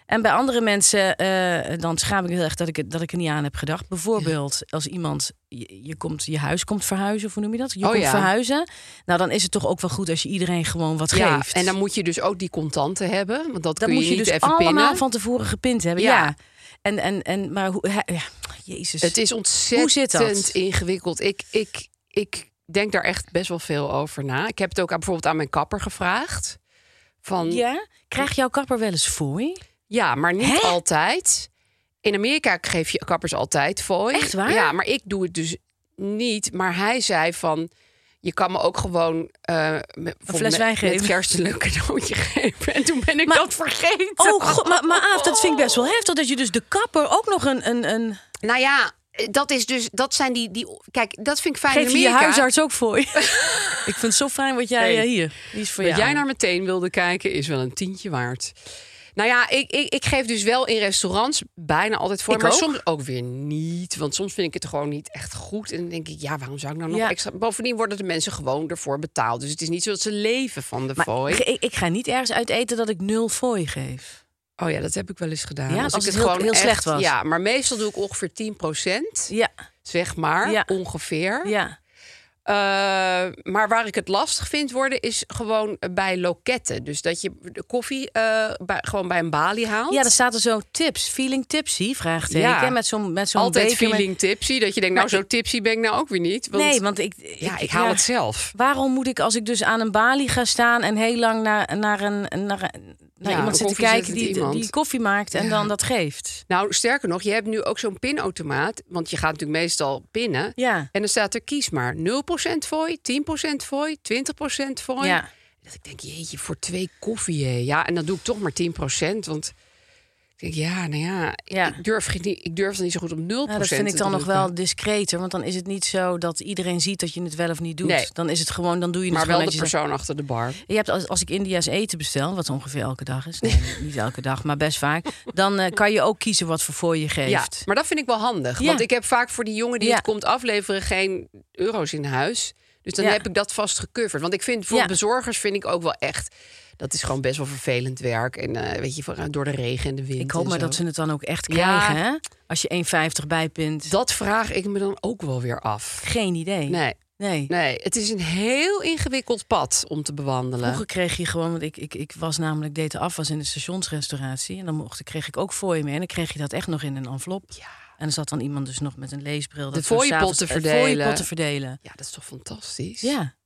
Speaker 4: En bij andere mensen eh, dan schaam ik me heel erg dat ik, het- dat ik er niet aan heb gedacht. Bijvoorbeeld als iemand je, je komt je huis komt verhuizen, of hoe noem je dat? Je
Speaker 3: Oh
Speaker 4: komt
Speaker 3: ja.
Speaker 4: verhuizen. Nou, dan is het toch ook wel goed als je iedereen gewoon wat
Speaker 3: Ja,
Speaker 4: geeft.
Speaker 3: en dan moet je dus ook die contanten hebben. Want dat kun
Speaker 4: Dan
Speaker 3: je,
Speaker 4: moet je
Speaker 3: niet
Speaker 4: dus
Speaker 3: even
Speaker 4: allemaal
Speaker 3: pinnen.
Speaker 4: van tevoren gepind hebben.
Speaker 3: Ja.
Speaker 4: Ja. En, en, en maar hoe. hè, ja, jezus.
Speaker 3: Het is ontzettend
Speaker 4: zit dat?
Speaker 3: ingewikkeld. Ik, ik, ik denk daar echt best wel veel over na. Ik heb het ook aan, bijvoorbeeld aan mijn kapper gevraagd. Van, ja.
Speaker 4: Ja? Krijg jouw kapper wel eens fooi?
Speaker 3: maar niet
Speaker 4: Hè?
Speaker 3: altijd. In Amerika geef je kappers altijd fooi.
Speaker 4: Echt waar?
Speaker 3: Ja, maar ik doe het dus niet. Maar hij zei van... Je kan me ook gewoon eh, met, bijvoorbeeld
Speaker 4: fles
Speaker 3: met-
Speaker 4: wijn geven.
Speaker 3: met kerst een leuk cadeautje geven. En toen ben ik
Speaker 4: Maar-
Speaker 3: dat vergeten.
Speaker 4: Oh, god, maar, maar Aaf, dat vind ik best wel heftig. Dat je dus de kapper ook nog een. een, een
Speaker 3: Nou ja, dat is dus... Dat zijn die... die kijk, dat vind ik fijn
Speaker 4: geef
Speaker 3: in
Speaker 4: je je
Speaker 3: Amerika.
Speaker 4: huisarts ook voor. ik vind het zo fijn wat jij
Speaker 3: Hey.
Speaker 4: eh, hier. Die is voor
Speaker 3: Dat
Speaker 4: jou.
Speaker 3: jij naar meteen wilde kijken is wel een tientje waard. Nou ja, ik, ik, ik geef dus wel in restaurants bijna altijd voor.
Speaker 4: Ik
Speaker 3: maar
Speaker 4: ook.
Speaker 3: soms ook weer niet. Want soms vind ik het gewoon niet echt goed. En dan denk ik, ja, waarom zou ik nou nog
Speaker 4: Ja.
Speaker 3: extra... Bovendien worden de mensen gewoon ervoor betaald. Dus het is niet zo dat ze leven van de
Speaker 4: maar
Speaker 3: fooi.
Speaker 4: ik, ik- ik ga niet ergens uit eten dat ik nul fooi geef.
Speaker 3: Oh ja, dat heb ik wel eens gedaan.
Speaker 4: Ja,
Speaker 3: als,
Speaker 4: als
Speaker 3: ik
Speaker 4: het
Speaker 3: het
Speaker 4: heel-
Speaker 3: gewoon
Speaker 4: heel
Speaker 3: echt-
Speaker 4: slecht was.
Speaker 3: Ja, maar meestal doe ik ongeveer 10 procent,
Speaker 4: Ja,
Speaker 3: zeg maar.
Speaker 4: Ja.
Speaker 3: Ongeveer.
Speaker 4: ja.
Speaker 3: Eh, maar waar ik het lastig vind worden is gewoon bij loketten. Dus dat je de koffie eh, bij, gewoon bij een balie haalt.
Speaker 4: ja, er staat er zo tips. Feeling tipsy? Vraagteken.
Speaker 3: Ja.
Speaker 4: Met zo'n met zo'n
Speaker 3: Altijd
Speaker 4: beker met-
Speaker 3: feeling tipsy. Dat je denkt, nou
Speaker 4: Maar
Speaker 3: zo tipsy ben ik nou ook weer niet. Want,
Speaker 4: Nee, want ik, ik,
Speaker 3: ja, ik haal het zelf.
Speaker 4: Waarom moet ik als ik dus aan een balie ga staan en heel lang naar, naar, een, naar, een- naar
Speaker 3: een
Speaker 4: iemand zit te
Speaker 3: koffiezettend
Speaker 4: kijken die,
Speaker 3: iemand.
Speaker 4: die koffie maakt en dan dat geeft?
Speaker 3: Nou, sterker nog, je hebt nu ook zo'n pinautomaat. Want je gaat natuurlijk meestal pinnen.
Speaker 4: Ja.
Speaker 3: En dan staat er, kies maar 0% fooi, 10% fooi, 20% fooi.
Speaker 4: Ja.
Speaker 3: Dat ik denk, jeetje, voor twee koffie. hè. Ja, en dan doe ik toch maar 10%. Want ik denk, ja, nou ja, ik-
Speaker 4: Ja.
Speaker 3: Ik, durf, geen- ik durf dan niet zo goed op 0%.
Speaker 4: Nou, dat vind ik
Speaker 3: te
Speaker 4: dan nog
Speaker 3: drukken.
Speaker 4: wel discreter, want dan is het niet zo dat iedereen ziet dat je het wel of niet doet.
Speaker 3: Nee.
Speaker 4: Dan is het gewoon, dan doe je het
Speaker 3: Maar
Speaker 4: gewoon
Speaker 3: wel de
Speaker 4: netjes.
Speaker 3: persoon achter de bar.
Speaker 4: Je hebt als, als ik India's eten bestel, wat ongeveer elke dag is, nee, niet elke dag, maar best vaak, dan eh, kan je ook kiezen wat voor voor je geeft.
Speaker 3: Ja, maar dat vind ik wel handig.
Speaker 4: Ja.
Speaker 3: Want ik heb vaak voor die jongen die
Speaker 4: Ja.
Speaker 3: het komt afleveren geen euro's in huis. Dus dan
Speaker 4: Ja.
Speaker 3: heb ik dat vast gecoverd. Want ik vind voor
Speaker 4: Ja.
Speaker 3: bezorgers vind ik ook wel echt. Dat is gewoon best wel vervelend werk. En eh, weet je, voor- door de regen en de wind.
Speaker 4: ik hoop
Speaker 3: en
Speaker 4: maar
Speaker 3: zo.
Speaker 4: dat ze het dan ook echt
Speaker 3: Ja.
Speaker 4: krijgen, hè? Als je 1,50 bijpint.
Speaker 3: Dat vraag ik me dan ook wel weer af.
Speaker 4: Geen idee.
Speaker 3: Nee,
Speaker 4: nee.
Speaker 3: nee, het is een heel ingewikkeld pad om te bewandelen.
Speaker 4: Vroeger kreeg je gewoon, want ik, ik, ik was namelijk deed de afwas in de stationsrestauratie. En dan mocht, kreeg ik ook fooi mee. En dan kreeg je dat echt nog in een envelop. En er zat dan iemand dus nog met een leesbril. dat
Speaker 3: De
Speaker 4: zo
Speaker 3: fooiepot
Speaker 4: s'avonds
Speaker 3: te
Speaker 4: het
Speaker 3: verdelen.
Speaker 4: fooiepot te verdelen.
Speaker 3: Ja, dat is toch fantastisch?
Speaker 4: Ja.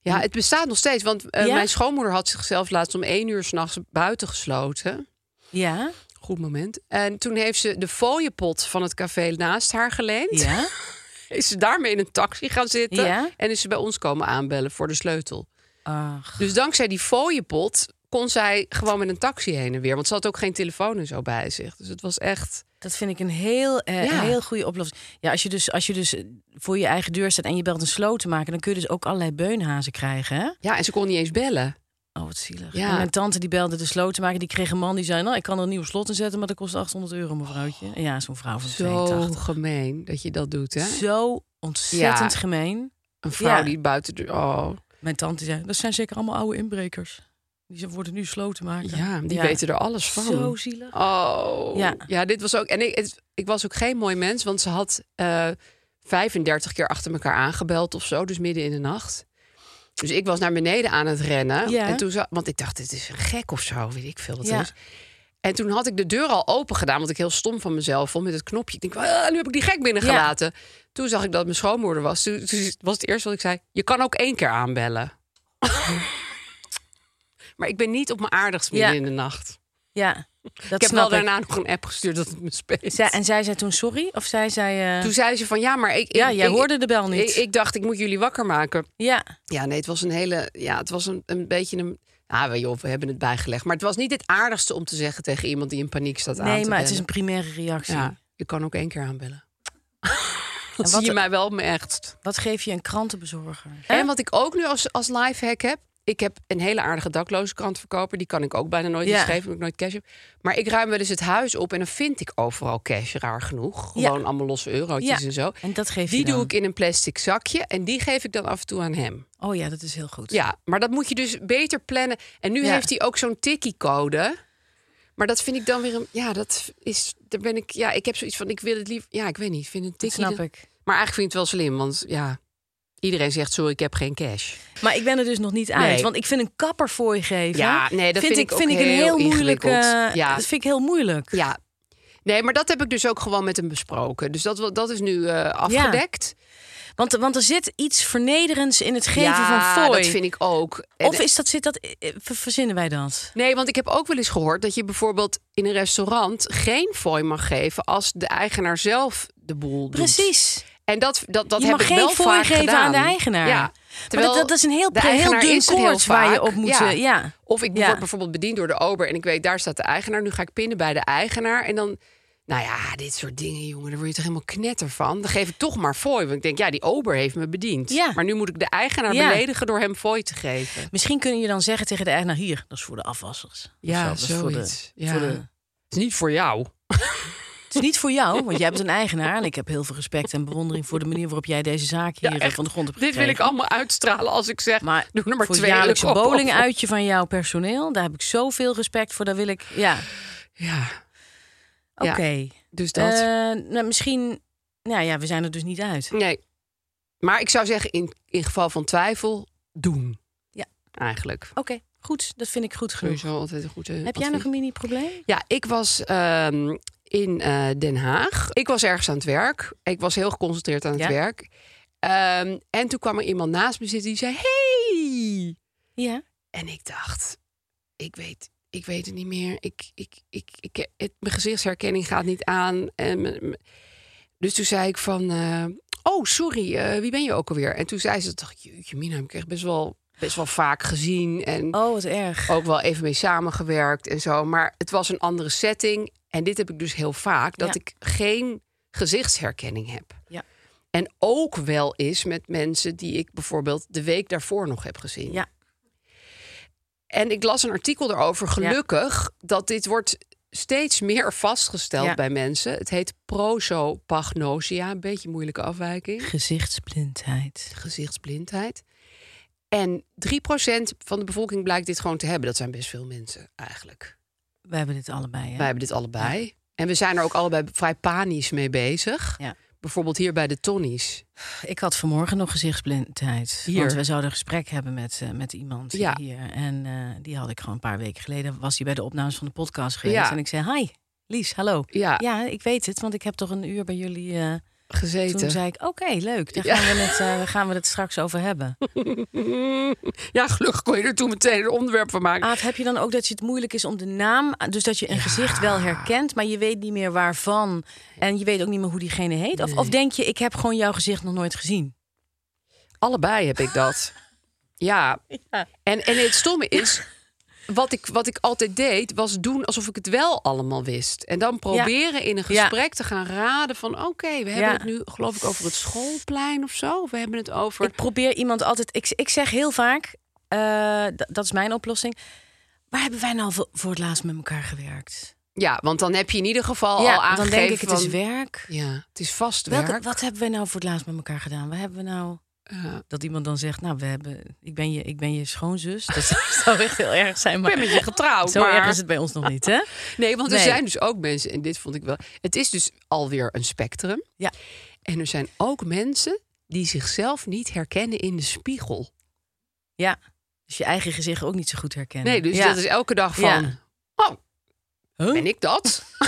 Speaker 3: Ja, het bestaat nog steeds. Want eh,
Speaker 4: Ja?
Speaker 3: mijn schoonmoeder had zichzelf laatst om één uur s'nachts buiten gesloten.
Speaker 4: Ja.
Speaker 3: Goed moment. En toen heeft ze de fooienpot van het café naast haar geleend.
Speaker 4: Ja.
Speaker 3: Is ze daarmee in een taxi gaan zitten.
Speaker 4: Ja.
Speaker 3: En is ze bij ons komen aanbellen voor de sleutel.
Speaker 4: Ach.
Speaker 3: Dus dankzij die fooienpot kon zij gewoon met een taxi heen en weer. Want ze had ook geen telefoon en zo bij zich. Dus het was echt...
Speaker 4: Dat vind ik een heel, eh,
Speaker 3: Ja.
Speaker 4: heel goede oplossing. Ja, als je, dus, als je dus eh, voor je eigen deur staat en je belt een sloot te maken, dan kun je dus ook allerlei beunhazen krijgen. Hè?
Speaker 3: Ja, en ze kon niet eens bellen.
Speaker 4: Oh, wat zielig.
Speaker 3: Ja.
Speaker 4: En mijn tante die belde de sloot te maken, die kreeg een man die zei: Nou, ik kan er een nieuw slot in zetten, maar dat kost 800 euro, mevrouwtje. Ja, zo'n vrouw van
Speaker 3: Oh. Zo
Speaker 4: 82.
Speaker 3: gemeen dat je dat doet, hè?
Speaker 4: Zo ontzettend
Speaker 3: Ja.
Speaker 4: gemeen.
Speaker 3: Een vrouw
Speaker 4: Ja.
Speaker 3: die buiten de... Oh,
Speaker 4: Mijn tante zei: Dat zijn zeker allemaal oude inbrekers. Die ze worden nu sloten maken.
Speaker 3: ja, die weten er alles van.
Speaker 4: Zo zielig.
Speaker 3: Oh. Ja.
Speaker 4: Ja.
Speaker 3: dit was ook. En ik, het- ik was ook geen mooi mens, want ze had eh 35 keer achter elkaar aangebeld of zo, dus midden in de nacht. Dus ik was naar beneden aan het rennen.
Speaker 4: Ja.
Speaker 3: En toen za- want ik dacht, dit is een gek of zo, weet ik veel wat het
Speaker 4: Ja.
Speaker 3: is. En toen had ik de deur al open gedaan, want ik heel stom van mezelf vond met het knopje. Ik denk, "Ah, nu heb ik die gek binnengelaten. Toen zag ik dat het mijn schoonmoeder was. Toen, toen was het eerst wat ik zei, je kan ook één keer aanbellen. maar ik ben niet op mijn aardigst midden
Speaker 4: Ja.
Speaker 3: in de nacht.
Speaker 4: Ja. Dat
Speaker 3: ik heb wel
Speaker 4: snap ik.
Speaker 3: daarna nog een app gestuurd dat het me speelt.
Speaker 4: Zij, en zij zei toen sorry? Of zij zei... eh,
Speaker 3: Toen zei ze van ja, maar ik.
Speaker 4: ja,
Speaker 3: ik-
Speaker 4: jij
Speaker 3: ik-
Speaker 4: hoorde de bel
Speaker 3: Ik,
Speaker 4: niet.
Speaker 3: ik dacht, ik moet jullie wakker maken.
Speaker 4: ja,
Speaker 3: Ja, nee, het was een hele. Ja, het was een, een beetje een. Ah, we- joh, we hebben het bijgelegd. Maar het was niet het aardigste om te zeggen tegen iemand die in paniek staat aan.
Speaker 4: nee,
Speaker 3: te
Speaker 4: maar het is een
Speaker 3: bellen.
Speaker 4: primaire reactie.
Speaker 3: Ja, je kan ook één keer aanbellen. Dan
Speaker 4: En
Speaker 3: zie
Speaker 4: wat-
Speaker 3: je mij wel me echt.
Speaker 4: Wat geef je een krantenbezorger?
Speaker 3: En wat ik ook nu als, als lifehack heb. Ik heb een hele aardige dakloze krantverkoper. Die kan ik ook bijna nooit
Speaker 4: Ja.
Speaker 3: ja. geven, omdat ik nooit cash heb. Maar ik ruim wel eens het huis op en dan vind ik overal cash, raar genoeg.
Speaker 4: Ja.
Speaker 3: Gewoon allemaal losse
Speaker 4: Ja.
Speaker 3: eurotjes en zo.
Speaker 4: En dat geef
Speaker 3: Die
Speaker 4: je dan?
Speaker 3: doe ik in een plastic zakje en die geef ik dan af en toe aan hem.
Speaker 4: Oh ja, dat is heel goed.
Speaker 3: Ja, maar dat moet je dus beter plannen. En nu
Speaker 4: Ja.
Speaker 3: heeft hij ook zo'n tikkie-code. Maar dat vind ik dan weer een. Ja, dat is. Daar ben ik. Ja, ik heb zoiets van. Ik wil het liever. Ja, ik weet niet. Ik vind een
Speaker 4: dat
Speaker 3: tikkie.
Speaker 4: snap
Speaker 3: dan-
Speaker 4: ik.
Speaker 3: Maar eigenlijk vind ik het wel slim. Want ja, iedereen zegt: Sorry, ik heb geen cash.
Speaker 4: Maar ik ben er dus nog niet uit.
Speaker 3: Nee.
Speaker 4: Want ik vind een kapper voor je geven...
Speaker 3: Ja, nee, dat vind ik ook
Speaker 4: vind ik een
Speaker 3: heel
Speaker 4: heel moeilijk...
Speaker 3: ingewikkeld.
Speaker 4: eh,
Speaker 3: Ja.
Speaker 4: Dat vind ik heel moeilijk.
Speaker 3: Ja. Nee, maar dat heb ik dus ook gewoon met hem besproken. Dus dat, wa- dat is nu eh, afgedekt.
Speaker 4: Want, want er zit iets vernederends in het geven
Speaker 3: ja,
Speaker 4: van fooi.
Speaker 3: dat vind ik ook. En-
Speaker 4: Of is dat, zit dat, eh, eh, ver- verzinnen wij dat?
Speaker 3: Nee, want ik heb ook wel eens gehoord dat je bijvoorbeeld in een restaurant geen fooi mag geven als de eigenaar zelf de boel doet.
Speaker 4: Precies.
Speaker 3: En dat, dat, dat
Speaker 4: je
Speaker 3: heb
Speaker 4: mag
Speaker 3: ik
Speaker 4: geen
Speaker 3: wel
Speaker 4: fooi
Speaker 3: vaak
Speaker 4: geven
Speaker 3: gedaan.
Speaker 4: aan de eigenaar.
Speaker 3: Ja.
Speaker 4: Terwijl dat, dat is een heel,
Speaker 3: de
Speaker 4: pre- heel
Speaker 3: eigenaar
Speaker 4: dun
Speaker 3: is er heel
Speaker 4: koord waar je
Speaker 3: vaak.
Speaker 4: op moet...
Speaker 3: Ja.
Speaker 4: eh, ja.
Speaker 3: Of ik
Speaker 4: Ja.
Speaker 3: word bijvoorbeeld bediend door de ober en ik weet, daar staat de eigenaar. Nu ga ik pinnen bij de eigenaar. En dan, nou ja, dit soort dingen, jongen, daar word je toch helemaal knetter van. Dan geef ik toch maar fooi. Want ik denk, ja, die ober heeft me bediend.
Speaker 4: Ja.
Speaker 3: Maar nu moet ik de eigenaar
Speaker 4: Ja.
Speaker 3: beledigen door hem fooi te geven.
Speaker 4: Misschien kun je dan zeggen tegen de eigenaar... hier, dat is voor de afwassers. Of zo, dat is voor de-
Speaker 3: ja.
Speaker 4: voor de-
Speaker 3: Het is niet voor jou.
Speaker 4: het is niet voor jou, want jij bent een eigenaar... en ik heb heel veel respect en bewondering voor de manier... waarop jij deze zaak hier eh, van de grond hebt
Speaker 3: Dit wil ik
Speaker 4: gekregen.
Speaker 3: allemaal uitstralen als ik zeg,
Speaker 4: Maar
Speaker 3: doe nummer
Speaker 4: voor
Speaker 3: twee.
Speaker 4: het
Speaker 3: en
Speaker 4: jaarlijkse
Speaker 3: kop op.
Speaker 4: bowlinguitje van jouw personeel... daar heb ik zoveel respect voor. Daar wil ik... Ja,
Speaker 3: Ja,
Speaker 4: oké.
Speaker 3: Ja, dus dat.
Speaker 4: Eh, nou, misschien... Nou ja, we zijn er dus niet uit.
Speaker 3: Nee. Maar ik zou zeggen, in, in geval van twijfel, doen.
Speaker 4: Ja.
Speaker 3: Eigenlijk.
Speaker 4: Oké, goed. Dat vind ik goed genoeg.
Speaker 3: Sowieso altijd een goede
Speaker 4: Heb jij nog een mini-probleem?
Speaker 3: Ja, ik was ehm, in eh, Den Haag. Ik was ergens aan het werk. Ik was heel geconcentreerd aan het
Speaker 4: Ja.
Speaker 3: werk. Ehm, en toen kwam er iemand naast me zitten die zei... Hey!
Speaker 4: Ja.
Speaker 3: En ik dacht, ik weet, ik weet het niet meer. Ik, ik, ik, ik, het, mijn gezichtsherkenning gaat niet aan. En, m- m- dus toen zei ik van, eh, oh sorry, eh, wie ben je ook alweer? En toen zei ze, toen dacht ik, jeetje Mina, ik kreeg best wel, best wel vaak gezien. En
Speaker 4: Oh, wat erg.
Speaker 3: ook wel even mee samengewerkt en zo. Maar het was een andere setting. En dit heb ik dus heel vaak, dat
Speaker 4: Ja.
Speaker 3: ik geen gezichtsherkenning heb.
Speaker 4: Ja.
Speaker 3: En ook wel eens met mensen die ik bijvoorbeeld de week daarvoor nog heb gezien.
Speaker 4: Ja.
Speaker 3: En ik las een artikel daarover, gelukkig, dat dit wordt steeds meer vastgesteld
Speaker 4: Ja.
Speaker 3: bij mensen. Het heet prosopagnosia, een beetje moeilijke afwijking,
Speaker 4: Gezichtsblindheid.
Speaker 3: gezichtsblindheid. En 3% van de bevolking blijkt dit gewoon te hebben. Dat zijn best veel mensen eigenlijk.
Speaker 4: We hebben dit allebei. Hè?
Speaker 3: Wij hebben dit allebei. En we zijn er ook allebei vrij panisch mee bezig.
Speaker 4: Ja.
Speaker 3: Bijvoorbeeld hier bij de Tonnies.
Speaker 4: Ik had vanmorgen nog gezichtsblindheid.
Speaker 3: Hier.
Speaker 4: Want we zouden een gesprek hebben met, eh, met iemand
Speaker 3: Ja.
Speaker 4: hier. En eh, die had ik gewoon een paar weken geleden. Was hij bij de opnames van de podcast geweest.
Speaker 3: Ja.
Speaker 4: En ik zei, hi, Lies, hallo.
Speaker 3: Ja,
Speaker 4: Ja, ik weet het, want ik heb toch een uur bij jullie... eh, toen
Speaker 3: gezeten.
Speaker 4: zei ik, oké, leuk, daar
Speaker 3: Ja.
Speaker 4: gaan, we het, eh, daar gaan we het straks over hebben.
Speaker 3: Ja, gelukkig kon je er toen meteen een onderwerp van maken.
Speaker 4: Aad, heb je dan ook dat je het moeilijk is om de naam... Dus dat je een gezicht wel herkent, maar je weet niet meer waarvan. En je weet ook niet meer hoe diegene heet. Of, of denk je, ik heb gewoon jouw gezicht nog nooit gezien.
Speaker 3: Allebei heb ik dat. ja. En, en het stomme is, wat ik, wat ik altijd deed, was doen alsof ik het wel allemaal wist. En dan proberen in een
Speaker 4: Ja.
Speaker 3: gesprek te gaan raden van... oké, we hebben
Speaker 4: Ja.
Speaker 3: het nu geloof ik over het schoolplein of zo. Of we hebben het over...
Speaker 4: Ik probeer iemand altijd... Ik, ik zeg heel vaak, eh, d- dat is mijn oplossing... Waar hebben wij nou voor, voor het laatst met elkaar gewerkt?
Speaker 3: Ja, want dan heb je in ieder geval al
Speaker 4: ja, dan
Speaker 3: aangegeven
Speaker 4: denk ik, het is
Speaker 3: van-
Speaker 4: werk.
Speaker 3: Ja, het is vast werk.
Speaker 4: Welke, wat hebben wij nou voor het laatst met elkaar gedaan? Waar hebben we nou...
Speaker 3: Ja.
Speaker 4: Dat iemand dan zegt, nou, we hebben, ik, ben je, ik ben je schoonzus. Dat zou echt heel erg zijn, maar
Speaker 3: Ik ben met je getrouwd,
Speaker 4: zo
Speaker 3: maar...
Speaker 4: erg is het bij ons nog niet, hè?
Speaker 3: Nee, want er
Speaker 4: Nee.
Speaker 3: zijn dus ook mensen, en dit vond ik wel... Het is dus alweer een spectrum.
Speaker 4: Ja.
Speaker 3: En er zijn ook mensen die zichzelf niet herkennen in de spiegel.
Speaker 4: Ja. Dus je eigen gezicht ook niet zo goed herkennen.
Speaker 3: Nee, dus
Speaker 4: ja.
Speaker 3: dat is elke dag van...
Speaker 4: Ja.
Speaker 3: Oh,
Speaker 4: Huh?
Speaker 3: ben ik dat?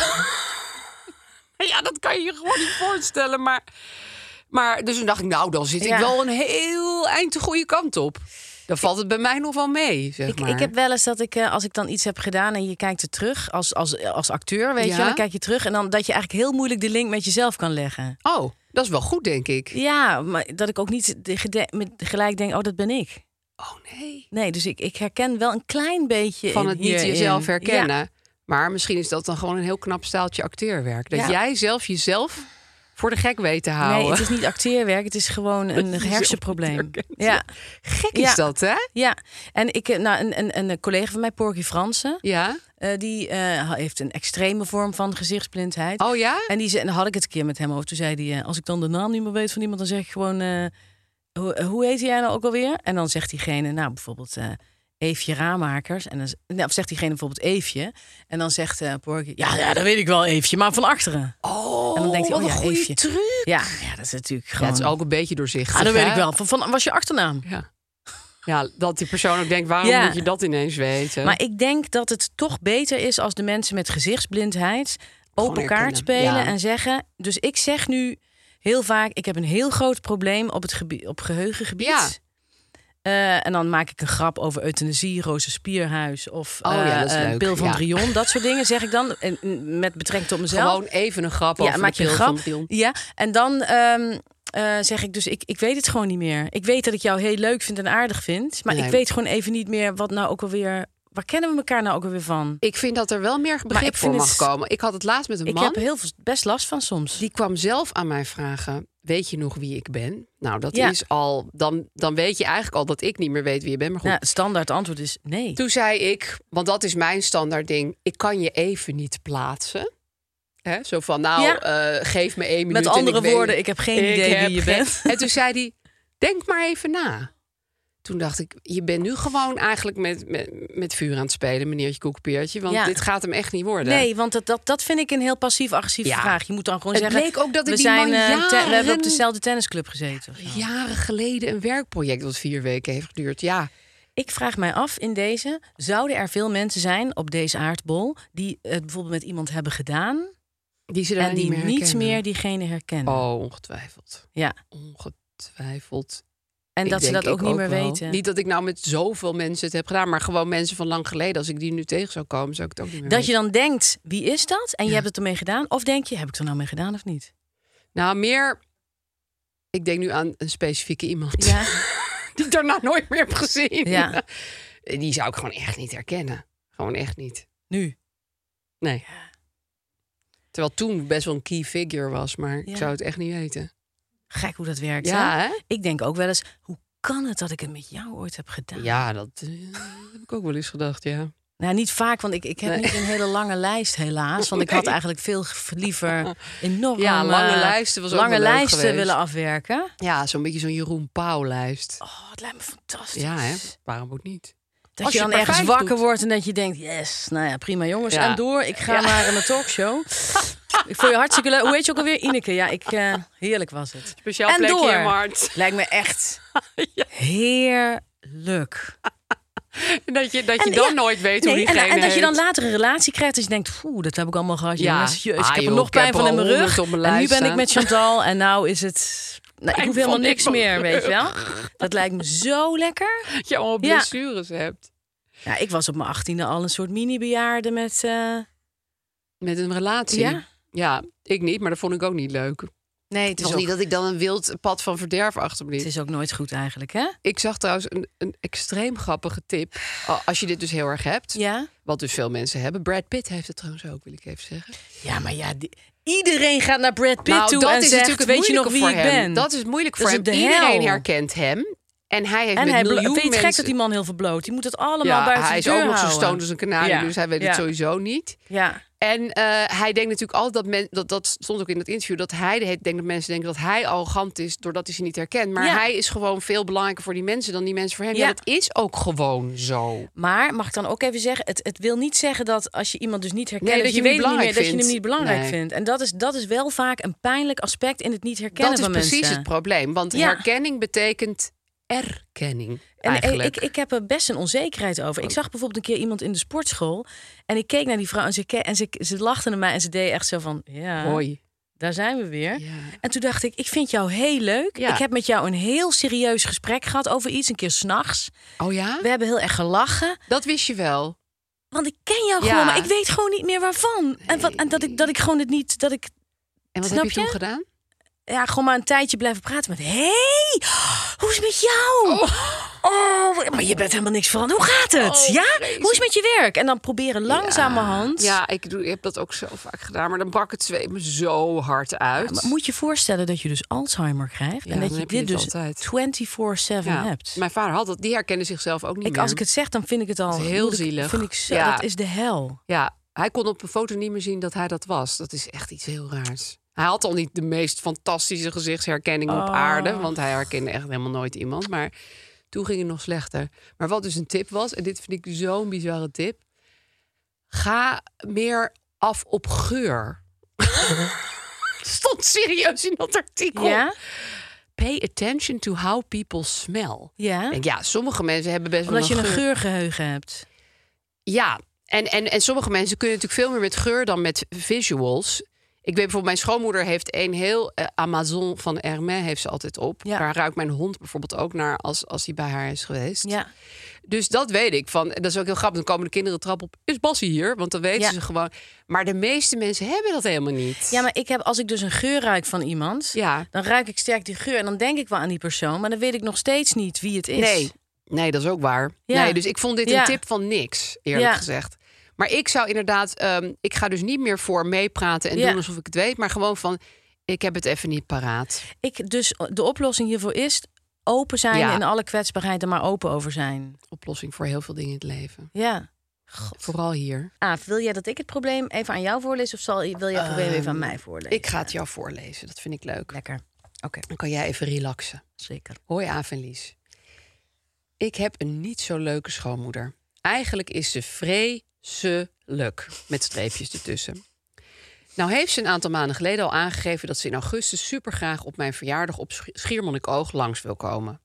Speaker 3: ja, dat kan je je gewoon niet voorstellen, maar... Maar dus toen dacht ik, nou, dan zit ik
Speaker 4: Ja.
Speaker 3: wel een heel eind de goede kant op. Dan valt het bij mij nog wel mee, zeg
Speaker 4: Ik,
Speaker 3: maar.
Speaker 4: ik heb wel eens dat ik, eh, als ik dan iets heb gedaan en je kijkt er terug, als, als, als acteur, weet
Speaker 3: Ja.
Speaker 4: je, wel, dan kijk je terug en dan dat je eigenlijk heel moeilijk de link met jezelf kan leggen.
Speaker 3: Oh, dat is wel goed, denk ik.
Speaker 4: Ja, maar dat ik ook niet de gede- met gelijk denk, oh, dat ben ik.
Speaker 3: Oh nee.
Speaker 4: Nee, dus ik, ik herken wel een klein beetje
Speaker 3: Van het niet
Speaker 4: hierin.
Speaker 3: jezelf
Speaker 4: Ja.
Speaker 3: herkennen. Maar misschien is dat dan gewoon een heel knap staaltje acteerwerk. Dat
Speaker 4: Ja.
Speaker 3: jij zelf jezelf voor de gek weet te houden.
Speaker 4: Nee, het is niet acteerwerk, het is gewoon een
Speaker 3: jezelf
Speaker 4: hersenprobleem.
Speaker 3: niet herkent.
Speaker 4: Ja,
Speaker 3: Gek
Speaker 4: Ja.
Speaker 3: is dat, hè?
Speaker 4: ja. En ik, eh, nou, een, een, een collega van mij, Porky Fransen,
Speaker 3: Ja.
Speaker 4: eh, die eh, heeft een extreme vorm van gezichtsblindheid.
Speaker 3: Oh ja?
Speaker 4: En, die, ze- en daar had ik het een keer met hem over. Toen zei hij, eh, als ik dan de naam niet meer weet van iemand, dan zeg ik gewoon... eh, hoe, hoe heet jij nou ook alweer? En dan zegt diegene, nou bijvoorbeeld... eh Eefje Raamakers. En dan, z- nou, of zegt diegene bijvoorbeeld Eefje. En dan zegt eh Porky, ja, ja, dat weet ik wel, Eefje, maar van achteren.
Speaker 3: Oh,
Speaker 4: en dan denkt hij,
Speaker 3: wat
Speaker 4: oh
Speaker 3: een
Speaker 4: ja,
Speaker 3: goeie
Speaker 4: Eefje.
Speaker 3: truc.
Speaker 4: Ja, ja, dat is natuurlijk
Speaker 3: Ja,
Speaker 4: gewoon...
Speaker 3: het is ook een beetje doorzichtig.
Speaker 4: Ah, dat weet
Speaker 3: hè?
Speaker 4: ik wel. Van, van, was je achternaam?
Speaker 3: Ja. ja, dat die persoon ook denkt, waarom
Speaker 4: Ja.
Speaker 3: moet je dat ineens weten?
Speaker 4: Maar ik denk dat het toch beter is als de mensen met gezichtsblindheid open
Speaker 3: herkennen,
Speaker 4: kaart spelen
Speaker 3: ja.
Speaker 4: en zeggen. Dus ik zeg nu heel vaak: ik heb een heel groot probleem op het gebied, op geheugengebied.
Speaker 3: Ja.
Speaker 4: Eh, en dan maak ik een grap over euthanasie, Roze Spierhuis of
Speaker 3: Oh ja,
Speaker 4: eh,
Speaker 3: dat is
Speaker 4: eh,
Speaker 3: leuk,
Speaker 4: pil van
Speaker 3: ja.
Speaker 4: Drion. Dat soort dingen zeg ik dan en, en met betrekking tot mezelf.
Speaker 3: Gewoon even een grap
Speaker 4: ja,
Speaker 3: over
Speaker 4: maak
Speaker 3: de
Speaker 4: je een
Speaker 3: pil
Speaker 4: grap.
Speaker 3: van Dion.
Speaker 4: Ja, en dan ehm, eh, zeg ik dus: ik, ik weet het gewoon niet meer. Ik weet dat ik jou heel leuk vind en aardig vind, maar
Speaker 3: Nee.
Speaker 4: ik weet gewoon even niet meer wat nou ook alweer. Waar kennen we elkaar nou ook alweer van?
Speaker 3: Ik vind dat er wel meer begrip
Speaker 4: ik
Speaker 3: voor
Speaker 4: vind
Speaker 3: mag
Speaker 4: het-
Speaker 3: komen. Ik had het laatst met een
Speaker 4: Ik
Speaker 3: man.
Speaker 4: heb er heel veel best last van soms.
Speaker 3: Die kwam zelf aan mij vragen: Weet je nog wie ik ben? Nou, dat
Speaker 4: Ja.
Speaker 3: is al. Dan, dan weet je eigenlijk al dat ik niet meer weet wie je bent. Maar goed.
Speaker 4: Nou, het standaard antwoord is nee.
Speaker 3: Toen zei ik, want dat is mijn standaard ding: Ik kan je even niet plaatsen. Hè? Zo van: Nou,
Speaker 4: Ja.
Speaker 3: eh, geef me één minuut.
Speaker 4: Met
Speaker 3: en
Speaker 4: andere
Speaker 3: ik weet-
Speaker 4: woorden, ik heb geen
Speaker 3: Ik
Speaker 4: idee
Speaker 3: heb
Speaker 4: wie je
Speaker 3: geen-
Speaker 4: bent.
Speaker 3: En toen zei hij: Denk maar even na. Toen dacht ik, je bent nu gewoon eigenlijk met, met, met vuur aan het spelen, meneertje Koekpeertje. Want
Speaker 4: Ja.
Speaker 3: dit gaat hem echt niet worden.
Speaker 4: Nee, want dat, dat, dat vind ik een heel passief-agressieve
Speaker 3: Ja.
Speaker 4: vraag. Je moet dan gewoon
Speaker 3: Het
Speaker 4: zeggen...
Speaker 3: bleek ook dat ik
Speaker 4: we,
Speaker 3: die
Speaker 4: zijn,
Speaker 3: man
Speaker 4: eh, te- we hebben
Speaker 3: jaren-
Speaker 4: op dezelfde tennisclub gezeten. of zo.
Speaker 3: Jaren geleden een werkproject dat vier weken heeft geduurd. Ja,
Speaker 4: Ik vraag mij af in deze... zouden er veel mensen zijn op deze aardbol... die het bijvoorbeeld met iemand hebben gedaan...
Speaker 3: die ze daar
Speaker 4: en die
Speaker 3: niet meer
Speaker 4: niet
Speaker 3: herkennen.
Speaker 4: meer diegene herkennen?
Speaker 3: Oh, ongetwijfeld.
Speaker 4: Ja.
Speaker 3: Ongetwijfeld.
Speaker 4: En
Speaker 3: Ik
Speaker 4: dat ze
Speaker 3: denk
Speaker 4: dat ook
Speaker 3: ik
Speaker 4: niet meer
Speaker 3: wel.
Speaker 4: weten.
Speaker 3: Niet dat ik nou met zoveel mensen het heb gedaan, maar gewoon mensen van lang geleden. Als ik die nu tegen zou komen, zou ik het ook niet meer
Speaker 4: Dat je
Speaker 3: weten.
Speaker 4: dan denkt, wie is dat? En je hebt het ermee gedaan. Of denk je, heb ik er nou mee gedaan of niet?
Speaker 3: Nou, meer... Ik denk nu aan een specifieke iemand
Speaker 4: Ja.
Speaker 3: die ik daarna nooit meer heb gezien.
Speaker 4: Ja.
Speaker 3: Die zou ik gewoon echt niet herkennen. Gewoon echt niet.
Speaker 4: nu.
Speaker 3: Nee. Terwijl toen best wel een key figure was, maar ik
Speaker 4: Ja.
Speaker 3: zou het echt niet weten.
Speaker 4: Gek hoe dat werkt. hè?
Speaker 3: Ja, hè?
Speaker 4: Ik denk ook wel eens, hoe kan het dat ik het met jou ooit heb gedaan?
Speaker 3: Ja, dat eh, heb ik ook wel eens gedacht, ja.
Speaker 4: Nou, niet vaak, want ik, ik heb
Speaker 3: Nee.
Speaker 4: niet een hele lange lijst, helaas. Want ik had
Speaker 3: Nee.
Speaker 4: eigenlijk veel ge- liever enorm
Speaker 3: Ja, lange
Speaker 4: eh,
Speaker 3: lijsten was ook
Speaker 4: lange
Speaker 3: wel leuk
Speaker 4: lijsten
Speaker 3: geweest.
Speaker 4: willen afwerken.
Speaker 3: Ja, zo'n beetje zo'n Jeroen Pauw-lijst.
Speaker 4: Oh, het lijkt me fantastisch.
Speaker 3: ja, hè? Waarom ook niet?
Speaker 4: Dat
Speaker 3: Als
Speaker 4: je
Speaker 3: je
Speaker 4: dan
Speaker 3: maar
Speaker 4: ergens
Speaker 3: vijf
Speaker 4: wakker
Speaker 3: doet.
Speaker 4: wordt en dat je denkt, yes, nou ja, prima jongens,
Speaker 3: Ja.
Speaker 4: en door. Ik ga naar een talkshow. ik vond je hartstikke leuk. Hoe heet je ook alweer? Ineke. Ja, ik, eh, heerlijk was het.
Speaker 3: Speciaal
Speaker 4: en
Speaker 3: plekje
Speaker 4: door.
Speaker 3: in Mart.
Speaker 4: Lijkt me echt heerlijk.
Speaker 3: En dat je, dat je
Speaker 4: En
Speaker 3: dan
Speaker 4: ja,
Speaker 3: nooit weet
Speaker 4: Ah, Nee,
Speaker 3: hoe
Speaker 4: en,
Speaker 3: diegene
Speaker 4: en dat je dan
Speaker 3: heet.
Speaker 4: later een relatie krijgt dat je denkt, oeh, dat heb ik allemaal gehad.
Speaker 3: eh, Ja.
Speaker 4: jongens. Jezus,
Speaker 3: Ah,
Speaker 4: ik heb
Speaker 3: joh,
Speaker 4: er nog
Speaker 3: ik heb
Speaker 4: pijn van
Speaker 3: er
Speaker 4: in mijn
Speaker 3: al
Speaker 4: rug.
Speaker 3: honderd op mijn
Speaker 4: en nu
Speaker 3: lijst
Speaker 4: ben ik
Speaker 3: staan.
Speaker 4: met Chantal en nou is het... Nou, ik
Speaker 3: Pijn
Speaker 4: hoef helemaal
Speaker 3: van in
Speaker 4: niks
Speaker 3: mijn
Speaker 4: meer, weet je wel.
Speaker 3: rug.
Speaker 4: Dat lijkt me zo lekker.
Speaker 3: Dat je allemaal
Speaker 4: Ja.
Speaker 3: blessures hebt.
Speaker 4: Ja, ik was op mijn achttiende al een soort mini-bejaarde met... eh,
Speaker 3: Met een relatie.
Speaker 4: Ja?
Speaker 3: Ja, ik niet, maar dat vond ik ook niet leuk.
Speaker 4: Nee, het
Speaker 3: Het
Speaker 4: is,
Speaker 3: was
Speaker 4: ook,
Speaker 3: niet dat ik dan een wild pad van verderf achter me liet.
Speaker 4: het is ook nooit goed eigenlijk, hè?
Speaker 3: Ik zag trouwens een, een extreem grappige tip. A- Als je dit dus heel erg hebt,
Speaker 4: Ja.
Speaker 3: wat dus veel mensen hebben. Brad Pitt heeft het trouwens ook, wil ik even zeggen. Nou,
Speaker 4: Ja, maar ja, die- iedereen gaat naar Brad Pitt toe en zegt, weet je nog
Speaker 3: moeilijke
Speaker 4: wie
Speaker 3: voor
Speaker 4: ik
Speaker 3: hem.
Speaker 4: ben?
Speaker 3: Dat is moeilijk
Speaker 4: Dat
Speaker 3: voor hem.
Speaker 4: is de hel.
Speaker 3: Iedereen herkent hem. En hij heeft
Speaker 4: en
Speaker 3: met
Speaker 4: hij blo-
Speaker 3: miljoen
Speaker 4: vind je het
Speaker 3: mensen...
Speaker 4: gek dat die man heel veel bloot? Die moet het allemaal
Speaker 3: ja,
Speaker 4: buiten
Speaker 3: hij
Speaker 4: de
Speaker 3: is
Speaker 4: deur
Speaker 3: ook nog zo
Speaker 4: houden.
Speaker 3: stoned als een kanarie,
Speaker 4: Ja,
Speaker 3: dus hij weet
Speaker 4: ja.
Speaker 3: het sowieso niet.
Speaker 4: Ja.
Speaker 3: En eh, hij denkt natuurlijk altijd dat, men, dat dat stond ook in dat interview, dat hij denkt dat mensen denken dat hij arrogant is doordat hij ze niet herkent. Maar
Speaker 4: Ja.
Speaker 3: hij is gewoon veel belangrijker voor die mensen dan die mensen voor hem. Ja,
Speaker 4: Ja.
Speaker 3: dat is ook gewoon zo.
Speaker 4: Maar mag ik dan ook even zeggen, het, het wil niet zeggen dat als je iemand dus niet herkent,
Speaker 3: Nee,
Speaker 4: dat, je
Speaker 3: hem
Speaker 4: weet
Speaker 3: niet
Speaker 4: het niet meer,
Speaker 3: belangrijk
Speaker 4: dat je hem
Speaker 3: vindt.
Speaker 4: niet belangrijk
Speaker 3: Nee.
Speaker 4: vindt. En dat is, dat is wel vaak een pijnlijk aspect in het niet herkennen
Speaker 3: dat is
Speaker 4: van
Speaker 3: precies
Speaker 4: mensen.
Speaker 3: het probleem, want
Speaker 4: Ja.
Speaker 3: herkenning betekent erkenning
Speaker 4: En
Speaker 3: eigenlijk. Oh.
Speaker 4: ik, ik heb er best een onzekerheid over. Ik zag bijvoorbeeld een keer iemand in de sportschool en ik keek naar die vrouw en ze, ke- en ze, ze lachte naar mij en ze deed echt zo van, ja,
Speaker 3: Hoi.
Speaker 4: daar zijn we weer.
Speaker 3: Ja.
Speaker 4: En toen dacht ik, ik vind jou heel leuk.
Speaker 3: Ja.
Speaker 4: Ik heb met jou een heel serieus gesprek gehad over iets, een keer s'nachts.
Speaker 3: Oh ja?
Speaker 4: We hebben heel erg gelachen.
Speaker 3: Dat wist je wel.
Speaker 4: Want ik ken jou
Speaker 3: Ja.
Speaker 4: gewoon, maar ik weet gewoon niet meer waarvan. En, wat, en dat, ik, dat ik gewoon het niet, dat ik
Speaker 3: En wat
Speaker 4: Snap
Speaker 3: heb je, toen
Speaker 4: je?
Speaker 3: gedaan?
Speaker 4: ja, gewoon maar een tijdje blijven praten met... Hé, hey, hoe is het met jou? Oh. maar je bent helemaal niks veranderd. Hoe gaat het?
Speaker 3: Oh,
Speaker 4: ja?
Speaker 3: vreselijk.
Speaker 4: Hoe is het met je werk? En dan proberen langzamerhand...
Speaker 3: Ja, ik, doe, ik heb dat ook zo vaak gedaan. Maar dan brak het zweet me zo hard uit.
Speaker 4: Maar moet je voorstellen dat je dus Alzheimer krijgt
Speaker 3: Ja,
Speaker 4: en dat
Speaker 3: dan
Speaker 4: je
Speaker 3: heb je
Speaker 4: dit
Speaker 3: dit
Speaker 4: dus 24/7
Speaker 3: altijd. Ja,
Speaker 4: hebt.
Speaker 3: Mijn vader had dat. Die herkende zichzelf ook niet
Speaker 4: Ik,
Speaker 3: meer.
Speaker 4: als ik het zeg, dan vind ik het al
Speaker 3: Dat is heel
Speaker 4: moet ik-
Speaker 3: zielig.
Speaker 4: Vind ik zo,
Speaker 3: Ja.
Speaker 4: Dat is de hel.
Speaker 3: Ja, hij kon op een foto niet meer zien dat hij dat was. Dat is echt iets heel raars. Hij had al niet de meest fantastische gezichtsherkenning
Speaker 4: Oh.
Speaker 3: op aarde. Want hij herkende echt helemaal nooit iemand. Maar toen ging het nog slechter. Maar wat dus een tip was, en dit vind ik zo'n bizarre tip. Ga meer af op geur. Stond serieus in dat artikel.
Speaker 4: Ja?
Speaker 3: Pay attention to how people smell.
Speaker 4: Ja?
Speaker 3: Ik Denk, ja, sommige mensen hebben best
Speaker 4: Omdat je
Speaker 3: wel
Speaker 4: een geurgeheugen hebt.
Speaker 3: ja, en, en, en sommige mensen kunnen natuurlijk veel meer met geur dan met visuals. Ik weet bijvoorbeeld, mijn schoonmoeder heeft een heel eh, Amazon van Hermès heeft ze altijd op.
Speaker 4: Ja.
Speaker 3: Daar ruikt mijn hond bijvoorbeeld ook naar als, als hij bij haar is geweest.
Speaker 4: Ja.
Speaker 3: Dus dat weet ik. Van, en dat is ook heel grappig. Dan komen de kinderen trap op. Is Bassie hier? Want dan weten
Speaker 4: Ja.
Speaker 3: ze gewoon. Maar de meeste mensen hebben dat helemaal niet.
Speaker 4: ja, maar ik heb, als ik dus een geur ruik van iemand,
Speaker 3: Ja.
Speaker 4: dan ruik ik sterk die geur. En dan denk ik wel aan die persoon, maar dan weet ik nog steeds niet wie het is.
Speaker 3: Nee, nee, dat is ook waar.
Speaker 4: Ja.
Speaker 3: Nee, dus ik vond dit
Speaker 4: Ja.
Speaker 3: een tip van niks, eerlijk
Speaker 4: Ja.
Speaker 3: gezegd. Maar ik zou inderdaad, ehm, ik ga dus niet meer voor meepraten en
Speaker 4: Ja.
Speaker 3: doen alsof ik het weet, maar gewoon van, ik heb het even niet paraat.
Speaker 4: Ik, dus de oplossing hiervoor is open zijn
Speaker 3: Ja.
Speaker 4: in alle kwetsbaarheid en maar open over zijn.
Speaker 3: Oplossing voor heel veel dingen in het leven.
Speaker 4: Ja.
Speaker 3: Vooral hier.
Speaker 4: Aaf, wil jij dat ik het probleem even aan jou voorlees of zal, wil jij het probleem even aan mij voorlezen?
Speaker 3: Ik ga het jou voorlezen, dat vind ik leuk.
Speaker 4: Lekker. Oké,
Speaker 3: Dan kan jij even relaxen.
Speaker 4: zeker.
Speaker 3: Hoi Aaf en Lies. Ik heb een niet zo leuke schoonmoeder. Eigenlijk is ze vreselijk, met streepjes ertussen. Nou heeft ze een aantal maanden geleden al aangegeven... dat ze in augustus supergraag op mijn verjaardag op Sch- Schiermonnikoog langs wil komen.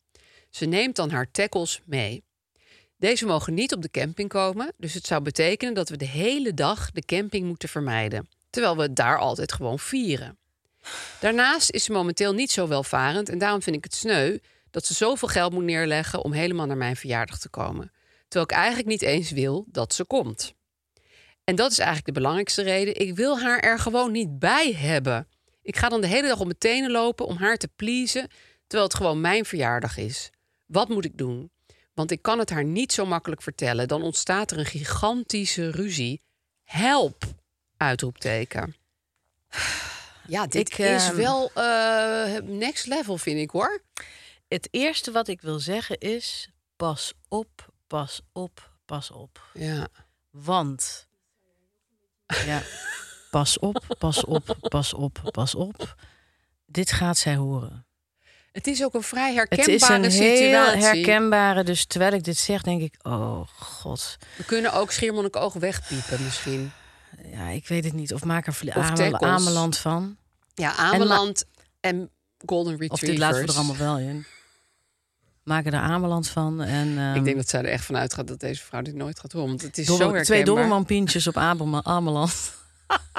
Speaker 3: Ze neemt dan haar tackles mee. Deze mogen niet op de camping komen, dus het zou betekenen... dat we de hele dag de camping moeten vermijden. Terwijl we het daar altijd gewoon vieren. Daarnaast is ze momenteel niet zo welvarend en daarom vind ik het sneu dat ze zoveel geld moet neerleggen om helemaal naar mijn verjaardag te komen. Terwijl ik eigenlijk niet eens wil dat ze komt. En dat is eigenlijk de belangrijkste reden. Ik wil haar er gewoon niet bij hebben. Ik ga dan de hele dag op mijn tenen lopen om haar te pleasen, terwijl het gewoon mijn verjaardag is. Wat moet ik doen? Want ik kan het haar niet zo makkelijk vertellen. Dan ontstaat er een gigantische ruzie. Help! Uitroepteken. Ja, dit
Speaker 4: Ik,
Speaker 3: is
Speaker 4: ehm,
Speaker 3: wel eh, next level, vind ik hoor.
Speaker 4: Het eerste wat ik wil zeggen is: pas op, pas op, pas op.
Speaker 3: Ja.
Speaker 4: Want. Ja, pas op, pas op, pas op, pas op. Dit gaat zij horen.
Speaker 3: Het is ook een vrij
Speaker 4: Het
Speaker 3: herkenbare
Speaker 4: is een heel
Speaker 3: situatie.
Speaker 4: herkenbare. Dus terwijl ik dit zeg, denk ik: oh god.
Speaker 3: We kunnen ook Schiermonnikoog wegpiepen misschien.
Speaker 4: Ja, ik weet het niet. Of maak er vle-
Speaker 3: Of
Speaker 4: Amel-
Speaker 3: tackles.
Speaker 4: Ameland van.
Speaker 3: Ja, Ameland en, Golden Retrievers.
Speaker 4: Of dit laten we er allemaal wel in. Maak er Ameland van. En, ehm,
Speaker 3: Ik denk dat zij er echt van uitgaat dat deze vrouw dit nooit gaat horen. Want het is
Speaker 4: Dorre-
Speaker 3: zo herkenbaar.
Speaker 4: twee Dorreman-pintjes op Abelma- Ameland.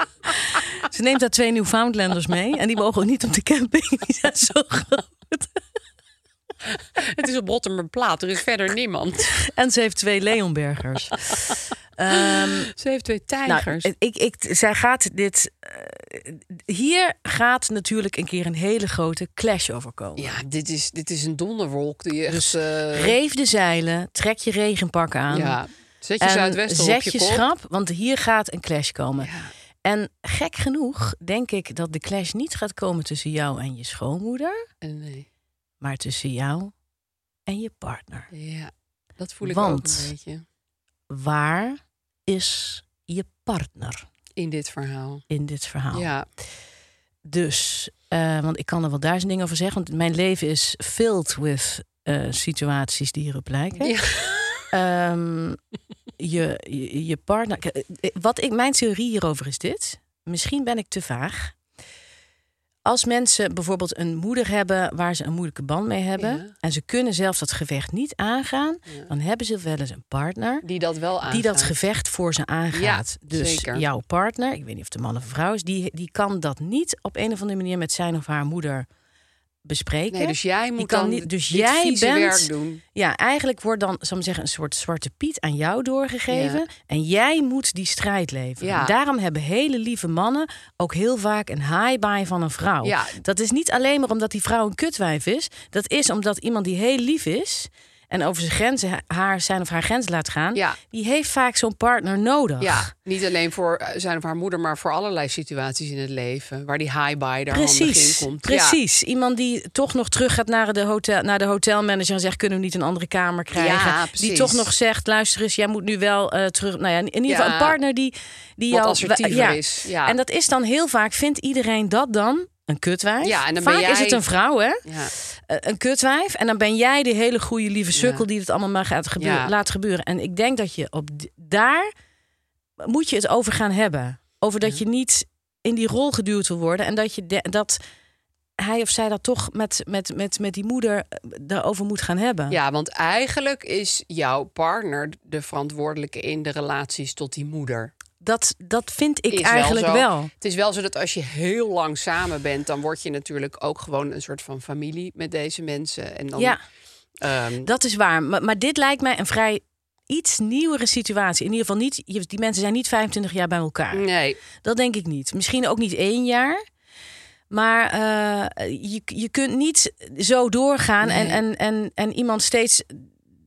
Speaker 4: Ze neemt daar twee Newfoundlanders mee. En die mogen ook niet op de camping. Die zijn zo groot.
Speaker 3: Het is op Rotterdam Plaat. Er is verder niemand.
Speaker 4: En ze heeft twee Leonbergers. Ehm,
Speaker 3: Ze heeft twee
Speaker 4: nou,
Speaker 3: tijgers.
Speaker 4: ik, ik, zij gaat dit... eh, hier gaat natuurlijk een keer een hele grote clash overkomen.
Speaker 3: ja, dit is, dit is een donderwolk die je echt...
Speaker 4: Dus
Speaker 3: eh,
Speaker 4: Reef de zeilen, trek je regenpak aan.
Speaker 3: ja. Zet je
Speaker 4: en
Speaker 3: Zuidwesten op
Speaker 4: zet
Speaker 3: je,
Speaker 4: je
Speaker 3: kop.
Speaker 4: schrap, want hier gaat een clash komen. En gek genoeg denk ik dat de clash niet gaat komen tussen jou en je schoonmoeder,
Speaker 3: En eh, nee.
Speaker 4: maar tussen jou en je partner.
Speaker 3: Ja, dat voel ik
Speaker 4: Want-
Speaker 3: ook een beetje
Speaker 4: Waar is je partner
Speaker 3: in dit verhaal.
Speaker 4: in dit verhaal?
Speaker 3: Ja,
Speaker 4: Dus, eh, want ik kan er wel duizend dingen over zeggen, want mijn leven is filled with eh, situaties die hierop lijken.
Speaker 3: Ja.
Speaker 4: Ehm, je, je, je partner. eh, K- eh, Wat ik, mijn theorie hierover is dit. Misschien ben ik te vaag. als mensen bijvoorbeeld een moeder hebben waar ze een moeilijke band mee hebben
Speaker 3: Ja.
Speaker 4: en ze kunnen zelf dat gevecht niet aangaan, dan hebben ze wel eens een partner
Speaker 3: Die dat wel aan.
Speaker 4: die dat gevecht voor ze aangaat.
Speaker 3: Ja,
Speaker 4: dus
Speaker 3: zeker.
Speaker 4: jouw partner, ik weet niet of de man of een vrouw is, die, die kan dat niet op een of andere manier met zijn of haar moeder bespreken.
Speaker 3: Nee, dus jij moet
Speaker 4: die kan
Speaker 3: dan
Speaker 4: niet, dus
Speaker 3: dit
Speaker 4: jij
Speaker 3: vieze
Speaker 4: bent,
Speaker 3: werk doen.
Speaker 4: Ja, eigenlijk wordt dan, zal ik maar zeggen, een soort zwarte piet aan jou doorgegeven.
Speaker 3: Ja.
Speaker 4: En jij moet die strijd leveren.
Speaker 3: Ja.
Speaker 4: Daarom hebben hele lieve mannen ook heel vaak een high-bye van een vrouw.
Speaker 3: Ja.
Speaker 4: Dat is niet alleen maar omdat die vrouw een kutwijf is. Dat is omdat iemand die heel lief is en over zijn grenzen, haar, zijn of haar grens laat gaan,
Speaker 3: Ja.
Speaker 4: die heeft vaak zo'n partner nodig.
Speaker 3: Ja, niet alleen voor eh, zijn of haar moeder, maar voor allerlei situaties in het leven. Waar die high-bye daar handig
Speaker 4: Precies,
Speaker 3: in komt.
Speaker 4: precies. Iemand die toch nog terug gaat naar de, hotel, naar de hotelmanager en zegt: kunnen we niet een andere kamer krijgen?
Speaker 3: Ja,
Speaker 4: die
Speaker 3: precies.
Speaker 4: toch nog zegt: luister eens, jij moet nu wel eh, terug. Nou ja, in ieder
Speaker 3: Ja,
Speaker 4: geval een partner die, die
Speaker 3: wat
Speaker 4: jou-
Speaker 3: assertiever
Speaker 4: ja.
Speaker 3: is, ja.
Speaker 4: En dat is dan heel vaak, vindt iedereen dat dan een kutwijf?
Speaker 3: Ja, en dan ben
Speaker 4: vaak is
Speaker 3: jij-
Speaker 4: het een vrouw, hè?
Speaker 3: Ja. Ja.
Speaker 4: Eh, Een kutwijf. En dan ben jij de hele goede, lieve sukkel
Speaker 3: Ja.
Speaker 4: die het allemaal maar gaat gebeuren,
Speaker 3: Ja.
Speaker 4: laat gebeuren. En ik denk dat je op d- daar moet je het over gaan hebben. Over dat je niet in die rol geduwd wil worden. En dat, je de- dat hij of zij dat toch met, met, met, met die moeder eh, daarover moet gaan hebben.
Speaker 3: Ja, want eigenlijk is jouw partner de verantwoordelijke in de relaties tot die moeder.
Speaker 4: Dat, dat vind ik
Speaker 3: Is
Speaker 4: eigenlijk
Speaker 3: zo.
Speaker 4: wel.
Speaker 3: Het is wel zo dat als je heel lang samen bent, dan word je natuurlijk ook gewoon een soort van familie met deze mensen. En dan,
Speaker 4: Ja,
Speaker 3: ehm,
Speaker 4: dat is waar. Maar, maar dit lijkt mij een vrij iets nieuwere situatie. In ieder geval niet, je- die mensen zijn niet 25 jaar bij elkaar.
Speaker 3: nee,
Speaker 4: Dat denk ik niet. Misschien ook niet één jaar. Maar eh, je, je kunt niet zo doorgaan en, en, en, en iemand steeds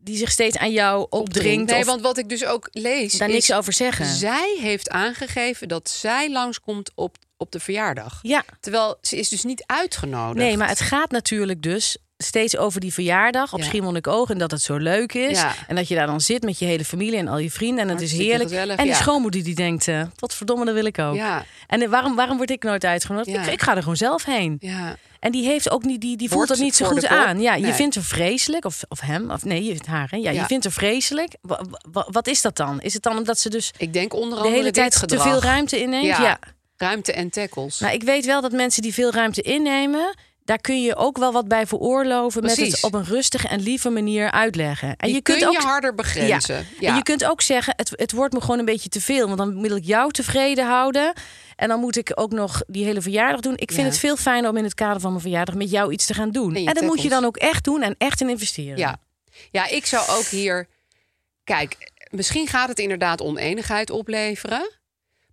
Speaker 4: die zich steeds aan jou opdringt.
Speaker 3: Nee,
Speaker 4: of
Speaker 3: want wat ik dus ook lees.
Speaker 4: daar
Speaker 3: is,
Speaker 4: niks over zeggen.
Speaker 3: Zij heeft aangegeven dat zij langskomt op, op de verjaardag.
Speaker 4: Ja,
Speaker 3: Terwijl ze is dus niet uitgenodigd.
Speaker 4: nee, maar het gaat natuurlijk dus steeds over die verjaardag op
Speaker 3: Ja.
Speaker 4: Schiermonnikoog en dat het zo leuk is.
Speaker 3: Ja.
Speaker 4: En dat je daar dan zit met je hele familie en al je vrienden en het is
Speaker 3: Hartstikke
Speaker 4: heerlijk.
Speaker 3: gezellig,
Speaker 4: en die
Speaker 3: ja.
Speaker 4: schoonmoeder die denkt, eh, wat verdomme, dat wil ik ook.
Speaker 3: Ja,
Speaker 4: En eh, waarom, waarom word ik nooit uitgenodigd?
Speaker 3: Ja.
Speaker 4: Ik, ik ga er gewoon zelf heen.
Speaker 3: ja.
Speaker 4: En die heeft ook niet, die, die voelt
Speaker 3: Wordt
Speaker 4: dat niet zo
Speaker 3: voor
Speaker 4: goed
Speaker 3: de kop?
Speaker 4: aan. Ja, je
Speaker 3: Nee.
Speaker 4: vindt haar vreselijk, of, of hem, of nee, je vindt haar. Hè? Ja,
Speaker 3: Ja.
Speaker 4: je vindt haar vreselijk. Wa- wa- wat is dat dan? Is het dan omdat ze dus
Speaker 3: Ik denk onder
Speaker 4: de
Speaker 3: andere
Speaker 4: hele
Speaker 3: dit
Speaker 4: tijd te
Speaker 3: gedrag.
Speaker 4: veel ruimte inneemt?
Speaker 3: Ja.
Speaker 4: Ja.
Speaker 3: Ruimte en tackles.
Speaker 4: Nou, ik weet wel dat mensen die veel ruimte innemen, daar kun je ook wel wat bij veroorloven met
Speaker 3: Precies.
Speaker 4: het op een rustige en lieve manier uitleggen. En
Speaker 3: Die
Speaker 4: je kunt
Speaker 3: kun
Speaker 4: ook
Speaker 3: je harder begrenzen.
Speaker 4: Ja.
Speaker 3: Ja.
Speaker 4: En je kunt ook zeggen, het, het wordt me gewoon een beetje te veel, want dan wil ik jou tevreden houden. En dan moet ik ook nog die hele verjaardag doen. Ik vind
Speaker 3: Ja.
Speaker 4: het veel fijner om in het kader van mijn verjaardag met jou iets te gaan doen.
Speaker 3: En
Speaker 4: En,
Speaker 3: je
Speaker 4: dat moet je
Speaker 3: tackles.
Speaker 4: dan ook echt doen en echt in investeren.
Speaker 3: ja. ja, ik zou ook hier. Kijk, misschien gaat het inderdaad oneenigheid opleveren.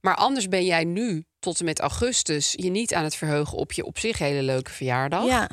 Speaker 3: Maar anders ben jij nu tot en met augustus je niet aan het verheugen op je op zich hele leuke verjaardag.
Speaker 4: Ja.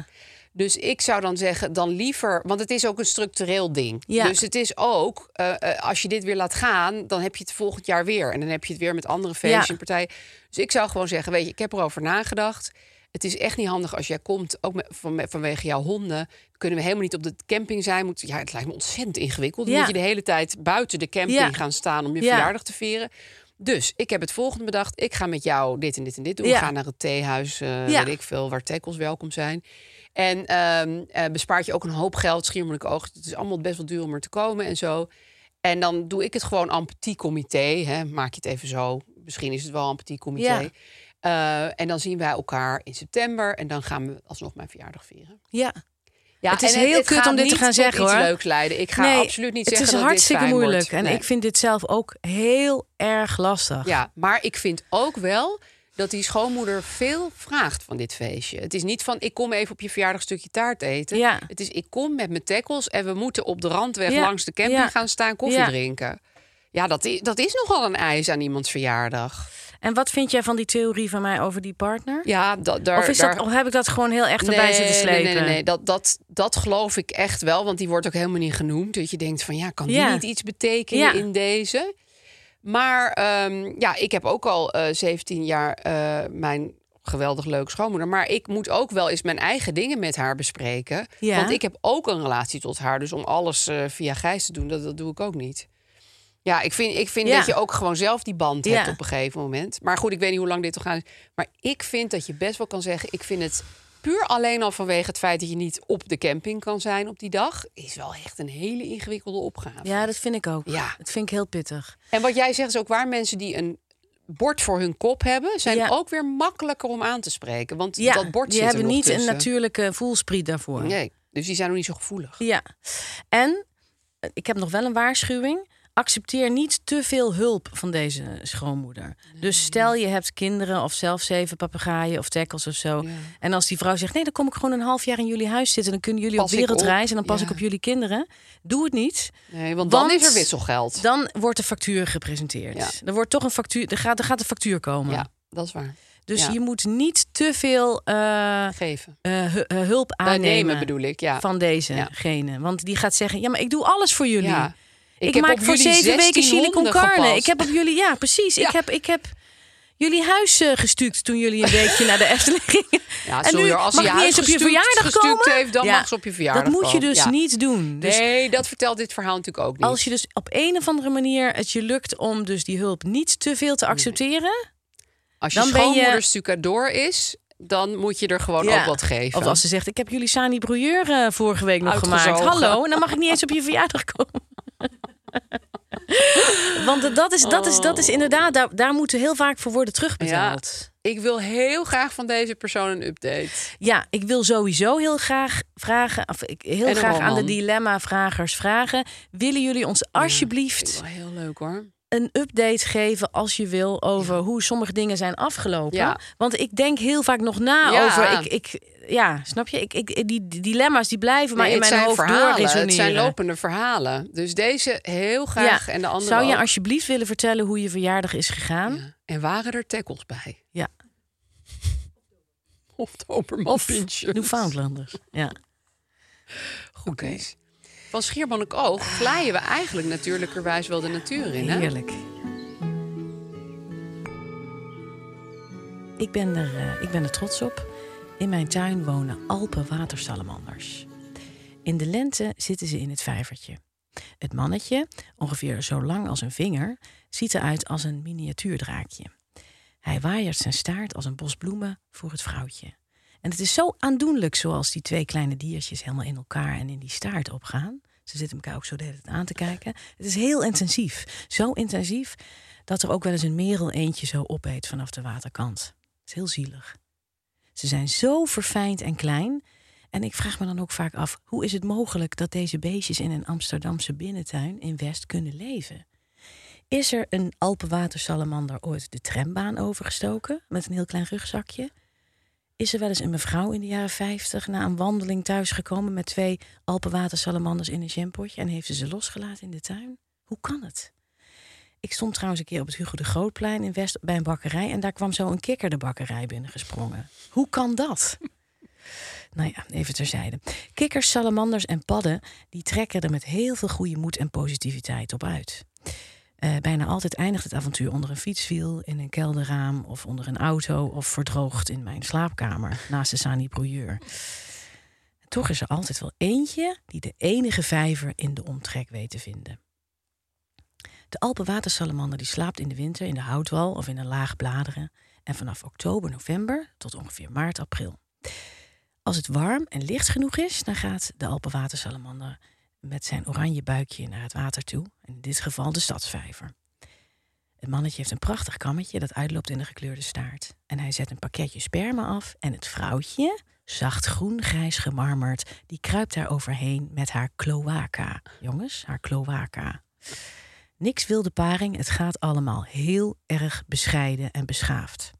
Speaker 3: Dus ik zou dan zeggen, dan liever, want het is ook een structureel ding.
Speaker 4: Ja.
Speaker 3: Dus het is ook, eh, eh, als je dit weer laat gaan, dan heb je het volgend jaar weer. En dan heb je het weer met andere feestjes
Speaker 4: Ja.
Speaker 3: en partijen. Dus ik zou gewoon zeggen, weet je, ik heb erover nagedacht. Het is echt niet handig als jij komt, ook met, van, vanwege jouw honden. Kunnen we helemaal niet op de camping zijn. Moet, ja, het lijkt me ontzettend ingewikkeld. Dan
Speaker 4: Ja.
Speaker 3: moet je de hele tijd buiten de camping
Speaker 4: Ja.
Speaker 3: gaan staan om je
Speaker 4: Ja.
Speaker 3: verjaardag te vieren. Dus ik heb het volgende bedacht. Ik ga met jou dit en dit en dit doen.
Speaker 4: Ja.
Speaker 3: We gaan naar het theehuis, eh
Speaker 4: Ja.
Speaker 3: weet ik veel, waar tackles welkom zijn. En ehm, eh, bespaart je ook een hoop geld, schiermelijk oog. Het is allemaal best wel duur om er te komen en zo. En dan doe ik het gewoon en petit comité. Hè. Maak je het even zo. Misschien is het wel en petit comité.
Speaker 4: Ja.
Speaker 3: Eh, en dan zien wij elkaar in september. En dan gaan we alsnog mijn verjaardag vieren.
Speaker 4: ja.
Speaker 3: Ja,
Speaker 4: Het is
Speaker 3: en
Speaker 4: heel kut
Speaker 3: gaat
Speaker 4: om dit te
Speaker 3: niet
Speaker 4: gaan
Speaker 3: tot
Speaker 4: zeggen,
Speaker 3: iets
Speaker 4: hoor.
Speaker 3: leuks leiden. Ik ga absoluut niet
Speaker 4: het
Speaker 3: zeggen
Speaker 4: is
Speaker 3: dat dit
Speaker 4: hartstikke
Speaker 3: fijn wordt.
Speaker 4: moeilijk. En
Speaker 3: Nee.
Speaker 4: ik vind dit zelf ook heel erg lastig.
Speaker 3: Ja, maar ik vind ook wel dat die schoonmoeder veel vraagt van dit feestje. Het is niet van ik kom even op je verjaardag een stukje taart eten.
Speaker 4: Ja.
Speaker 3: Het is ik kom met mijn tackles en we moeten op de randweg
Speaker 4: Ja,
Speaker 3: langs de camping
Speaker 4: ja.
Speaker 3: gaan staan koffie
Speaker 4: Ja.
Speaker 3: drinken. Ja, dat is, dat is nogal een eis aan iemands verjaardag.
Speaker 4: En wat vind jij van die theorie van mij over die partner?
Speaker 3: Ja, dat daar.
Speaker 4: of, is
Speaker 3: daar...
Speaker 4: dat, of heb ik dat gewoon heel echt erbij zitten slepen?
Speaker 3: Nee, nee, nee. Dat, dat, dat geloof ik echt wel. Want die wordt ook helemaal niet genoemd. Dat je denkt van ja, kan die
Speaker 4: Ja.
Speaker 3: niet iets betekenen
Speaker 4: Ja.
Speaker 3: in deze? Maar ehm, ja, ik heb ook al eh, 17 jaar eh, mijn geweldig leuke schoonmoeder. Maar ik moet ook wel eens mijn eigen dingen met haar bespreken.
Speaker 4: Ja.
Speaker 3: Want ik heb ook een relatie tot haar. Dus om alles eh, via Gijs te doen, dat, dat doe ik ook niet. Ja, ik vind, ik vind
Speaker 4: Ja.
Speaker 3: dat je ook gewoon zelf die band hebt
Speaker 4: Ja.
Speaker 3: op een gegeven moment. Maar goed, ik weet niet hoe lang dit toch gaat. Maar ik vind dat je best wel kan zeggen... ik vind het puur alleen al vanwege het feit dat je niet op de camping kan zijn op die dag... is wel echt een hele ingewikkelde opgave.
Speaker 4: Ja, dat vind ik ook.
Speaker 3: Ja.
Speaker 4: Dat vind ik heel pittig.
Speaker 3: En wat jij zegt is ook waar mensen die een bord voor hun kop hebben, zijn
Speaker 4: Ja.
Speaker 3: ook weer makkelijker om aan te spreken. Want
Speaker 4: Ja,
Speaker 3: dat bord
Speaker 4: die
Speaker 3: zit er
Speaker 4: hebben
Speaker 3: nog
Speaker 4: niet
Speaker 3: tussen.
Speaker 4: een natuurlijke voelspriet daarvoor.
Speaker 3: Nee, dus die zijn nog niet zo gevoelig.
Speaker 4: Ja. En eh, ik heb nog wel een waarschuwing. Accepteer niet te veel hulp van deze schoonmoeder. Dus stel je hebt kinderen of zelf zeven papegaaien of tackles of zo. En als die vrouw zegt: Nee, dan kom ik gewoon een half jaar in jullie huis zitten. Dan kunnen jullie
Speaker 3: Pas
Speaker 4: op
Speaker 3: ik
Speaker 4: wereldreis
Speaker 3: op.
Speaker 4: en dan pas
Speaker 3: Ja.
Speaker 4: ik op jullie kinderen. Doe het niet.
Speaker 3: Nee, want dan
Speaker 4: Want
Speaker 3: is er wisselgeld.
Speaker 4: Dan wordt de factuur gepresenteerd.
Speaker 3: Ja.
Speaker 4: Er wordt toch een factuur. Er gaat, er gaat de factuur komen.
Speaker 3: Ja, dat is waar.
Speaker 4: Dus
Speaker 3: Ja.
Speaker 4: je moet niet te veel eh, eh,
Speaker 3: Geven.
Speaker 4: hu- eh, hulp
Speaker 3: Bij
Speaker 4: aannemen.
Speaker 3: nemen bedoel ik, ja.
Speaker 4: van
Speaker 3: Ja.
Speaker 4: dezegene. Want die gaat zeggen: Ja, maar ik doe alles voor jullie.
Speaker 3: Ja.
Speaker 4: Ik,
Speaker 3: heb
Speaker 4: maak
Speaker 3: op
Speaker 4: voor
Speaker 3: jullie
Speaker 4: zeven weken chili con
Speaker 3: 1600
Speaker 4: carne.
Speaker 3: gepast.
Speaker 4: Ik heb op jullie, ja, precies.
Speaker 3: Ja.
Speaker 4: Ik, heb, ik heb jullie huis eh, gestuukt toen jullie een weekje naar de Efteling gingen.
Speaker 3: Ja,
Speaker 4: en
Speaker 3: sorry,
Speaker 4: nu
Speaker 3: hoor, als
Speaker 4: mag
Speaker 3: je
Speaker 4: ik niet
Speaker 3: huis
Speaker 4: eens op je
Speaker 3: gestuukt-
Speaker 4: verjaardag
Speaker 3: gestuukt
Speaker 4: komen.
Speaker 3: heeft, dan mag ze op je verjaardag
Speaker 4: Dat moet je
Speaker 3: komen.
Speaker 4: dus
Speaker 3: Ja.
Speaker 4: niet doen. Dus
Speaker 3: nee, dat vertelt dit verhaal natuurlijk ook niet.
Speaker 4: als je dus op een of andere manier het je lukt om dus die hulp niet te veel
Speaker 3: Mm.
Speaker 4: te accepteren.
Speaker 3: Als je
Speaker 4: dan ben je-
Speaker 3: schoonmoeder stucador is, dan moet je er gewoon ook wat geven.
Speaker 4: Of als ze zegt: Ik heb jullie Sani Brouilleur eh, vorige week nog gemaakt.
Speaker 3: Uitgezogen.
Speaker 4: Hallo, en dan mag ik niet eens op je verjaardag komen. Want eh, dat is, dat is, dat is
Speaker 3: Oh.
Speaker 4: inderdaad, daar, daar moeten heel vaak voor worden terugbetaald.
Speaker 3: Ik wil heel graag van deze persoon een update.
Speaker 4: Ja, ik wil sowieso heel graag vragen, of ik heel
Speaker 3: En een
Speaker 4: graag aan de
Speaker 3: roman.
Speaker 4: dilemma-vragers vragen: willen jullie ons
Speaker 3: Vind
Speaker 4: alsjeblieft
Speaker 3: ik wel heel leuk hoor.
Speaker 4: een update geven als je wil over hoe sommige dingen zijn afgelopen?
Speaker 3: Ja.
Speaker 4: Want ik denk heel vaak nog na
Speaker 3: Ja.
Speaker 4: over. Ik, ik, ja, snap je? Ik, ik, die, die dilemma's die blijven maar
Speaker 3: Nee,
Speaker 4: in
Speaker 3: het
Speaker 4: mijn
Speaker 3: zijn
Speaker 4: hoofd
Speaker 3: verhalen.
Speaker 4: doorresoneren.
Speaker 3: Het zijn lopende verhalen. Dus deze heel graag en de andere
Speaker 4: Zou je
Speaker 3: ook.
Speaker 4: alsjeblieft willen vertellen hoe je verjaardag is gegaan? Ja.
Speaker 3: Ja. En waren er tackles bij? Of Doberman
Speaker 4: Of
Speaker 3: Pinscher.
Speaker 4: Newfoundlanders. Ja.
Speaker 3: Goed Kees. Van Schiermonnikoog glijden we eigenlijk natuurlijkerwijs wel de natuur in. Hè?
Speaker 4: Heerlijk. Ik ben, er, eh, ik ben er trots op. In mijn tuin wonen Alpenwatersalamanders. In de lente zitten ze in het vijvertje. Het mannetje, ongeveer zo lang als een vinger, ziet eruit als een miniatuurdraakje. Hij waaiert zijn staart als een bos bloemen voor het vrouwtje. En het is zo aandoenlijk zoals die twee kleine diertjes helemaal in elkaar en in die staart opgaan. Ze zitten elkaar ook zo de hele tijd aan te kijken. Het is heel intensief. Zo intensief dat er ook wel eens een merel eentje zo opeet vanaf de waterkant. Het is heel zielig. Ze zijn zo verfijnd en klein. En ik vraag me dan ook vaak af, hoe is het mogelijk dat deze beestjes in een Amsterdamse binnentuin in West kunnen leven? Is er een Alpenwatersalamander ooit de trambaan overgestoken met een heel klein rugzakje? Is er wel eens een mevrouw in de jaren 50 na een wandeling thuisgekomen met twee Alpenwatersalamanders in een jampotje en heeft ze ze losgelaten in de tuin? Hoe kan het? Ik stond trouwens een keer op het Hugo de Grootplein in West bij een bakkerij en daar kwam zo een kikker de bakkerij binnengesprongen. Hoe kan dat? Nou ja, even terzijde. Kikkers, salamanders en padden die trekken er met heel veel goede moed en positiviteit op uit. Eh, bijna altijd eindigt het avontuur onder een fietswiel, in een kelderraam of onder een auto of verdroogd in mijn slaapkamer naast de Sani Brouilleur. Toch is er altijd wel eentje die de enige vijver in de omtrek weet te vinden. De Alpenwatersalamander die slaapt in de winter in de houtwal of in een laag bladeren en vanaf oktober, november tot ongeveer maart, april. Als het warm en licht genoeg is, dan gaat de Alpenwatersalamander met zijn oranje buikje naar het water toe, in dit geval de stadsvijver. Het mannetje heeft een prachtig kammetje dat uitloopt in een gekleurde staart. En hij zet een pakketje sperma af en het vrouwtje, zacht groen-grijs gemarmerd, die kruipt daar overheen met haar cloaca. Jongens, haar cloaca. Niks wil de paring, het gaat allemaal heel erg bescheiden en beschaafd.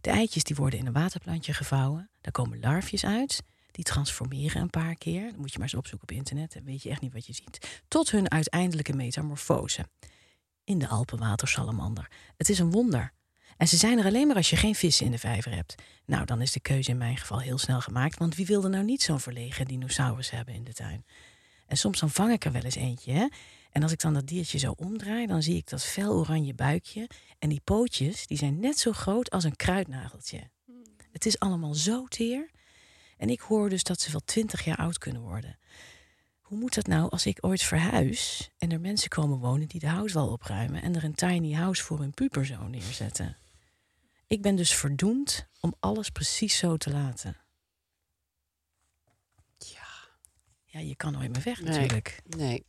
Speaker 4: De eitjes die worden in een waterplantje gevouwen. Daar komen larfjes uit. Die transformeren een paar keer. Dat moet je maar eens opzoeken op internet. Dan weet je echt niet wat je ziet. Tot hun uiteindelijke metamorfose. In de Alpenwatersalamander. Het is een wonder. En ze zijn er alleen maar als je geen vissen in de vijver hebt. Nou, dan is de keuze in mijn geval heel snel gemaakt. Want wie wilde nou niet zo'n verlegen dinosaurus hebben in de tuin? En soms dan vang ik er wel eens eentje. Hè? En als ik dan dat diertje zo omdraai, dan zie ik dat fel oranje buikje. En die pootjes, die zijn net zo groot als een kruidnageltje. Het is allemaal zo teer. En ik hoor dus dat ze wel twintig jaar oud kunnen worden. Hoe moet dat nou als ik ooit verhuis en er mensen komen wonen die de houtwal opruimen en er een tiny house voor hun puberzoon neerzetten? Ik ben dus verdoemd om alles precies zo te laten. Ja, je kan nooit meer weg
Speaker 3: Nee.
Speaker 4: natuurlijk.
Speaker 3: Nee.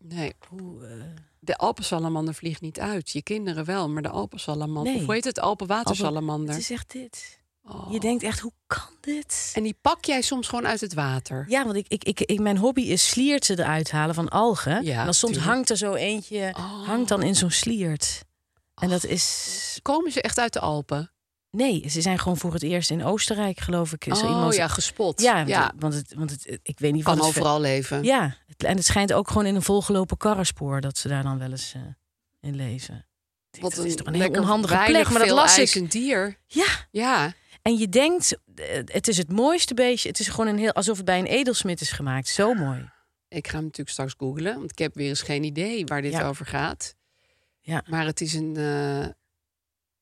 Speaker 3: Nee.
Speaker 4: Hoe, eh,
Speaker 3: De Alpensalamander vliegt niet uit. Je kinderen wel, maar de Alpensalamander.
Speaker 4: Nee.
Speaker 3: Of hoe heet het? Alpenwatersalamander.
Speaker 4: Het is echt dit.
Speaker 3: Oh.
Speaker 4: Je denkt echt, hoe kan dit?
Speaker 3: En die pak jij soms gewoon uit het water.
Speaker 4: Ja, want ik, ik, ik, ik- mijn hobby is slierten eruit halen van algen.
Speaker 3: Ja,
Speaker 4: en dan soms
Speaker 3: tuurlijk.
Speaker 4: hangt er zo eentje,
Speaker 3: Oh.
Speaker 4: hangt dan in zo'n sliert. En dat is...
Speaker 3: Komen ze echt uit de Alpen?
Speaker 4: Nee, ze zijn gewoon voor het eerst in Oostenrijk, geloof ik. Is er
Speaker 3: oh
Speaker 4: iemand...
Speaker 3: ja, gespot.
Speaker 4: Ja,
Speaker 3: Ja,
Speaker 4: want- want, het, want het, ik weet niet
Speaker 3: kan
Speaker 4: wat het ver-
Speaker 3: overal leven.
Speaker 4: Ja, het- en het schijnt ook gewoon in een volgelopen karrenspoor dat ze daar dan wel eens eh, in leven. Ik denk,
Speaker 3: Wat
Speaker 4: dat is toch een heel
Speaker 3: lekker
Speaker 4: onhandige
Speaker 3: weinig,
Speaker 4: plek, maar dat
Speaker 3: veel
Speaker 4: las ik.
Speaker 3: eisend dier.
Speaker 4: Ja,
Speaker 3: Ja,
Speaker 4: en je denkt, eh, het is het mooiste beestje. Het is gewoon een heel, alsof het bij een edelsmid is gemaakt. Zo mooi.
Speaker 3: ik ga hem natuurlijk straks googlen, want ik heb weer eens geen idee waar dit
Speaker 4: Ja.
Speaker 3: over gaat.
Speaker 4: Ja.
Speaker 3: Maar het is een eh,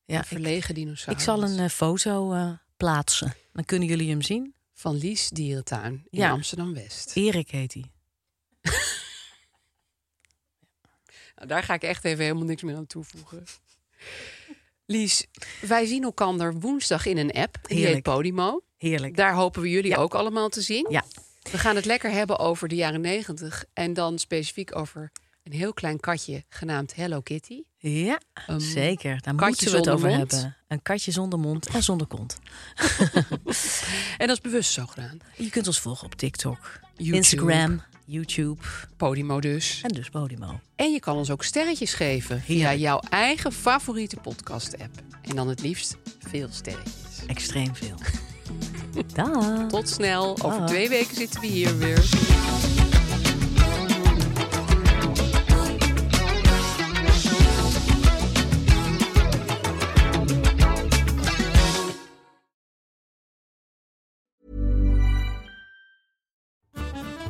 Speaker 4: Ja, ik,
Speaker 3: verlegen dinosaurus.
Speaker 4: ik zal een eh, foto eh, plaatsen. Dan kunnen jullie hem zien.
Speaker 3: Van Lies Dierentuin in
Speaker 4: Ja.
Speaker 3: Amsterdam-West.
Speaker 4: Erik heet hij.
Speaker 3: Nou, daar ga ik echt even helemaal niks meer aan toevoegen. Lies, wij zien elkaar woensdag in een app. Die heet
Speaker 4: Heerlijk.
Speaker 3: Podimo.
Speaker 4: Heerlijk.
Speaker 3: Daar hopen we jullie
Speaker 4: Ja.
Speaker 3: ook allemaal te zien.
Speaker 4: Ja,
Speaker 3: We gaan het lekker hebben over de jaren negentig. En dan specifiek over een heel klein katje genaamd Hello Kitty.
Speaker 4: ja
Speaker 3: Een
Speaker 4: zeker. Daar
Speaker 3: katje
Speaker 4: moeten we het
Speaker 3: zonder
Speaker 4: over
Speaker 3: mond.
Speaker 4: hebben. Een katje zonder mond en zonder kont.
Speaker 3: En dat is bewust zo gedaan.
Speaker 4: Je kunt ons volgen op TikTok,
Speaker 3: YouTube.
Speaker 4: Instagram, YouTube.
Speaker 3: Podimo dus.
Speaker 4: En dus Podimo.
Speaker 3: En je kan ons ook sterretjes geven via
Speaker 4: Heerlijk.
Speaker 3: jouw eigen favoriete podcast-app. En dan het liefst veel sterretjes.
Speaker 4: Extreem veel. Dag.
Speaker 3: Tot snel. Over
Speaker 4: Ah.
Speaker 3: twee weken zitten we hier weer.